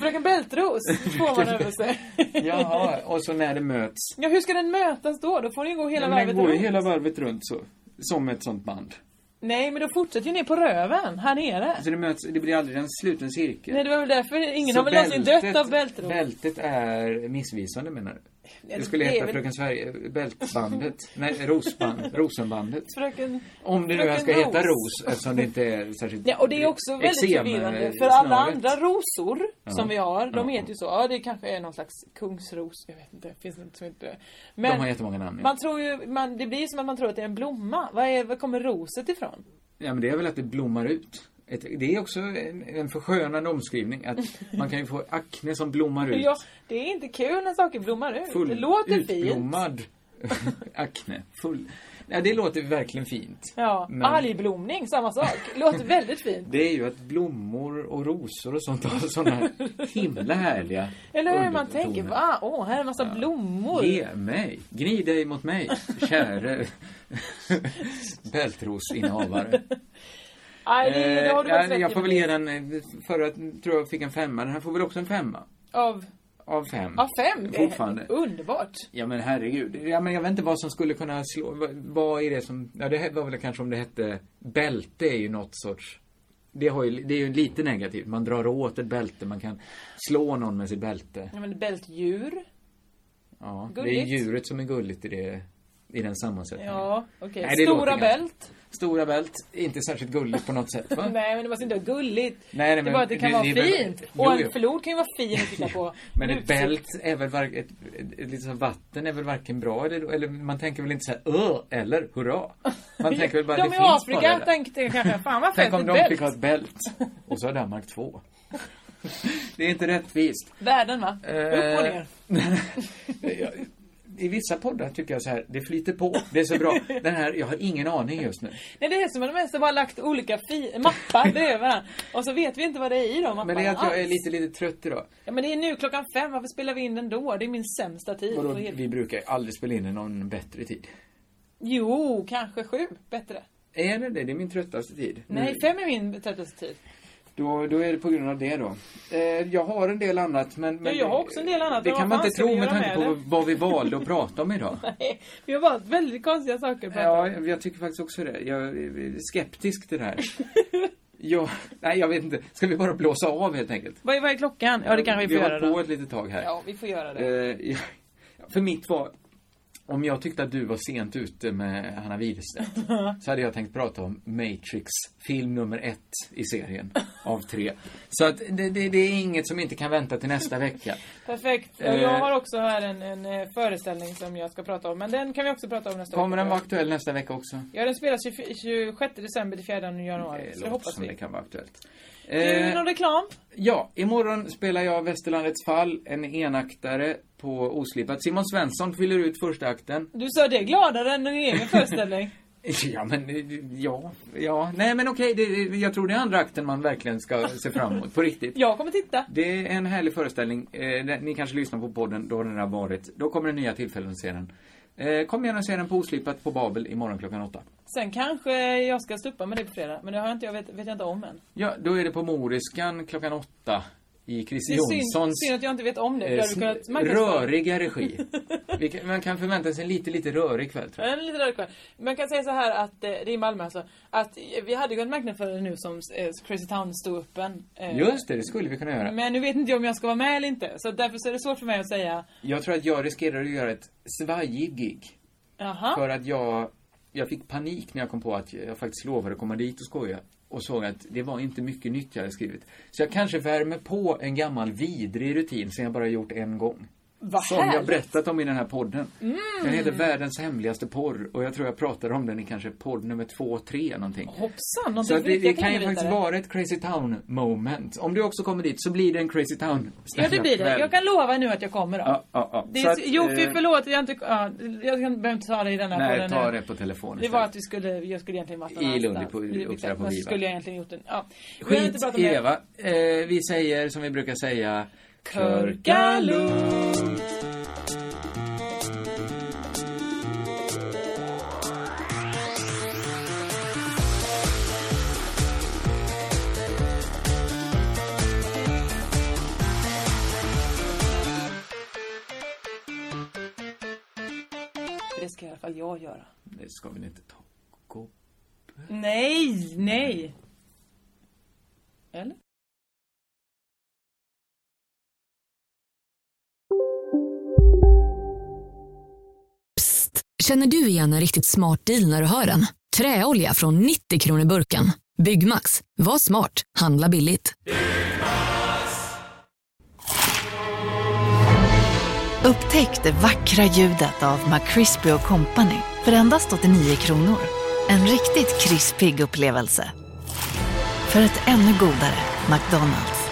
G: Fröken Bältros får man över sig.
H: Jaha, och så när det möts.
G: Ja, hur ska den mötas då? Då får den ju gå hela
H: Men
G: varvet
H: den går ju
G: runt.
H: hela varvet runt så, som ett sånt band.
G: Nej, men då fortsätter ju ner på röven, här nere.
H: Så det, möts, det blir aldrig en sluten cirkel.
G: Nej, det var väl därför ingen
H: Så
G: har väl någonsin
H: bältet-
G: dött av bältros.
H: Bältet är missvisande menar du?
G: det
H: Det skulle
G: är
H: heta
G: väl-
H: Fröken Sverige, bältbandet, nej rosband, rosenbandet.
G: Fröken...
H: Om det nu ens ska
G: Fröken
H: heta
G: Ros.
H: ros eftersom det inte är särskilt...
G: Ja, och det är också väldigt
H: eksem-
G: förvirrande. För alla
H: snöret.
G: andra rosor som vi har, de
H: Ja.
G: heter ju så. Ja, det kanske är någon slags kungsros. Jag vet inte, finns det inte som inte... Men
H: De har jättemånga namn. Ja.
G: man tror ju, man, det blir ju som att man tror att det är en blomma. Var, är, var kommer roset ifrån?
H: ja men det är väl att det blommar ut. Ett, det är också en, en förskönande omskrivning att man kan ju få akne som blommar ut.
G: Ja, det är inte kul när saker blommar ut.
H: Full,
G: det låter fint.
H: utblommad akne. Full. Ja, det låter verkligen fint.
G: Ja.
H: Men-
G: Algblomning, samma sak. Låter väldigt fint.
H: Det är ju att blommor och rosor och sånt har sådana himla härliga
G: Eller hur man
H: undertoner.
G: tänker, va? Åh, här är en massa blommor.
H: Ge mig, gni dig mot mig, käre bältrosinnehavare.
G: Nej, det, det har du
H: Eh,
G: faktiskt rätt
H: jag, jag
G: i,
H: får väl
G: Mattias.
H: ge den, eh, förra tror jag fick en femma, den här får väl också en femma.
G: Av,
H: Av fem.
G: av fem. Det är
H: Fortfarande.
G: Underbart.
H: Ja men herregud, ja, men jag vet inte vad som skulle kunna slå, vad, vad är det som, ja det var väl kanske om det hette, bälte är ju något sorts, det, har ju, det är ju lite negativt, man drar åt ett bälte, man kan slå någon med sitt bälte.
G: Ja, men bältdjur.
H: Ja, det är
G: Mm. Gulligt.
H: djuret som är gulligt i, det, i den sammansättningen.
G: Ja, okej.
H: Mm. Nej, det låter
G: Stora
H: ganska-
G: bält.
H: Stora bält, inte särskilt gulligt på något sätt va?
G: Nej, men det måste inte vara gulligt.
H: Nej, nej,
G: det
H: men
G: är bara att det kan
H: det-
G: vara
H: det är väl-
G: fint.
H: Jo,
G: Och
H: jo.
G: en flod kan ju vara fin att titta på.
H: Men ett
G: Utsikt.
H: bält är väl varken, ett, ett, ett, liksom vatten är väl varken bra eller, eller man tänker väl inte såhär öh eller hurra. Man tänker väl bara
G: De
H: det
G: i
H: finns bara
G: Afrika
H: det.
G: tänkte jag kanske, fan vad
H: Tänk
G: fett,
H: om
G: ett
H: de
G: bält.
H: fick ha ett bält. Och så har Danmark två. Det är inte rättvist.
G: Världen va? Upp och ner.
H: Eh, I vissa poddar tycker jag så här, det flyter på, det är så bra. Den här, jag har ingen aning just nu.
G: Nej, det är som att de ens har bara lagt olika fi- mappar bredvid varandra. Och så vet vi inte vad det är i de mapparna
H: Men det är att jag är
G: alls.
H: lite, lite trött idag.
G: Ja, men det är nu klockan fem, varför spelar vi in den då? Det är min sämsta tid.
H: Vadå,
G: Det är helt-
H: vi brukar ju aldrig spela in i någon bättre tid.
G: Jo, kanske sju, bättre.
H: Är det det? Det är min tröttaste tid.
G: Nej,
H: Nu-
G: fem är min tröttaste tid.
H: Då, då är det på grund av det då. Eh, jag har en del annat men... men
G: jag har också en del annat,
H: Det
G: men
H: kan
G: vad
H: man
G: fan
H: inte
G: ska vi
H: tro med
G: göra
H: tanke
G: med
H: på
G: det?
H: vad vi valde att prata om idag.
G: Nej, vi har valt väldigt konstiga saker. på
H: Ja, jag tycker faktiskt också det. Jag är skeptisk till det här. ja, nej, jag vet inte. Ska vi bara blåsa av helt enkelt?
G: Vad är, vad är klockan? Ja, det kanske vi
H: vi
G: får
H: har
G: göra
H: hållit på
G: då.
H: ett litet tag här.
G: Ja, vi får göra det.
H: Eh, ja, för mitt var... Om jag tyckte att du var sent ute med Hanna Widerstedt så hade jag tänkt prata om Matrix, film nummer ett i serien av tre. Så att det, det, det är inget som inte kan vänta till nästa vecka.
G: Perfekt. Och
H: Eh.
G: jag har också här en, en eh, föreställning som jag ska prata om. Men den kan vi också prata om nästa
H: Kommer den vara
G: vecka.
H: aktuell nästa vecka också?
G: Ja, den spelas 20, 26 december till 4 januari. så det
H: låter
G: hoppas
H: som det
G: vi.
H: kan vara aktuellt.
G: Du,
H: Eh,
G: någon reklam?
H: Ja, imorgon spelar jag Västerlandets fall, en enaktare på Oslipat. Simon Svensson fyller ut första akten.
G: Du sa det gladare än din egen föreställning.
H: Ja, men eh, ja, ja. Nej, men okej, det, jag tror det är andra akten man verkligen ska se fram emot, på riktigt.
G: Jag kommer titta.
H: Det är en härlig föreställning. Eh, den- ni kanske lyssnar på podden, då har den har varit. Då kommer det nya tillfällen att se den. Eh, kom gärna och se den på Oslipat på Babel imorgon klockan åtta.
G: Sen kanske jag ska stå upp med det på fredag. Men det har jag inte, jag vet, vet jag inte om än.
H: Ja, då är det på Moriskan klockan åtta i
G: Det
H: Christer
G: är synd,
H: Jonssons
G: synd att jag inte vet om det.
H: eh,
G: Jag hade kunnat marknadsföra.
H: röriga regi. Vi kan, man kan förvänta sig en lite, lite rörig kväll, tror jag.
G: En lite röd kväll. Men jag kan säga så här att eh, det är i Malmö alltså. Att eh, vi hade kunnat marknadsföra det nu som eh, Crazy Town stod öppen. Eh,
H: Just det, det skulle vi kunna göra.
G: Men nu vet inte jag om jag ska vara med eller inte. Så därför så är det svårt för mig att säga.
H: Jag tror att jag riskerar att göra ett svajig gig.
G: Jaha.
H: För att jag, jag fick panik när jag kom på att jag faktiskt lovade att komma dit och skoja. Och såg att det var inte mycket nytt jag hade skrivit. Så jag kanske värmer på en gammal vidrig rutin som jag bara gjort en gång.
G: Vad
H: som jag
G: härligt. Mm.
H: berättat om i den här podden. Den heter Världens hemligaste porr och jag tror jag pratade om den i kanske podd nummer två, tre någonting.
G: Hoppsan, någonting
H: Så
G: för
H: att det,
G: riktiga
H: det kan ju faktiskt
G: kulturvetare.
H: vara ett Crazy Town moment. Om du också kommer dit så blir det en Crazy Town
G: Ja det blir det. Jag kan lova nu att jag kommer då.
H: Ja, ja, ja.
G: Det
H: Så
G: är,
H: att,
G: så- jo, fy
H: eh,
G: förlåt. Jag, inte, ja, jag kan- behöver inte ta det i denna
H: Nej,
G: podden
H: ta
G: nu.
H: det på telefon
G: Det var
H: istället.
G: att vi skulle, jag skulle egentligen varit
H: I
G: någon annanstans.
H: Lund, på-
G: Vi- vi-
H: Uppsala på
G: vad
H: Viva.
G: skulle jag egentligen gjort den? Ja. Vi behöver inte
H: Skit
G: prata om
H: i
G: det.
H: det va. Eh, vi säger som vi brukar säga.
G: Körka
H: lugnt.
G: Det ska i alla fall jag göra.
H: Det ska vi inte ta. Gå.
G: Nej, nej. Eller?
K: Psst! Känner du igen en riktigt smart deal när du hör den? Träolja från 90 kronor burken. Byggmax. Var smart. Handla billigt.
L: Upptäck det vackra ljudet av McCrispy Company för endast 89 kronor. En riktigt krispig upplevelse. För ett ännu godare McDonalds.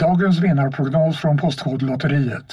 M: Dagens vinnarprognos från Postkodlotteriet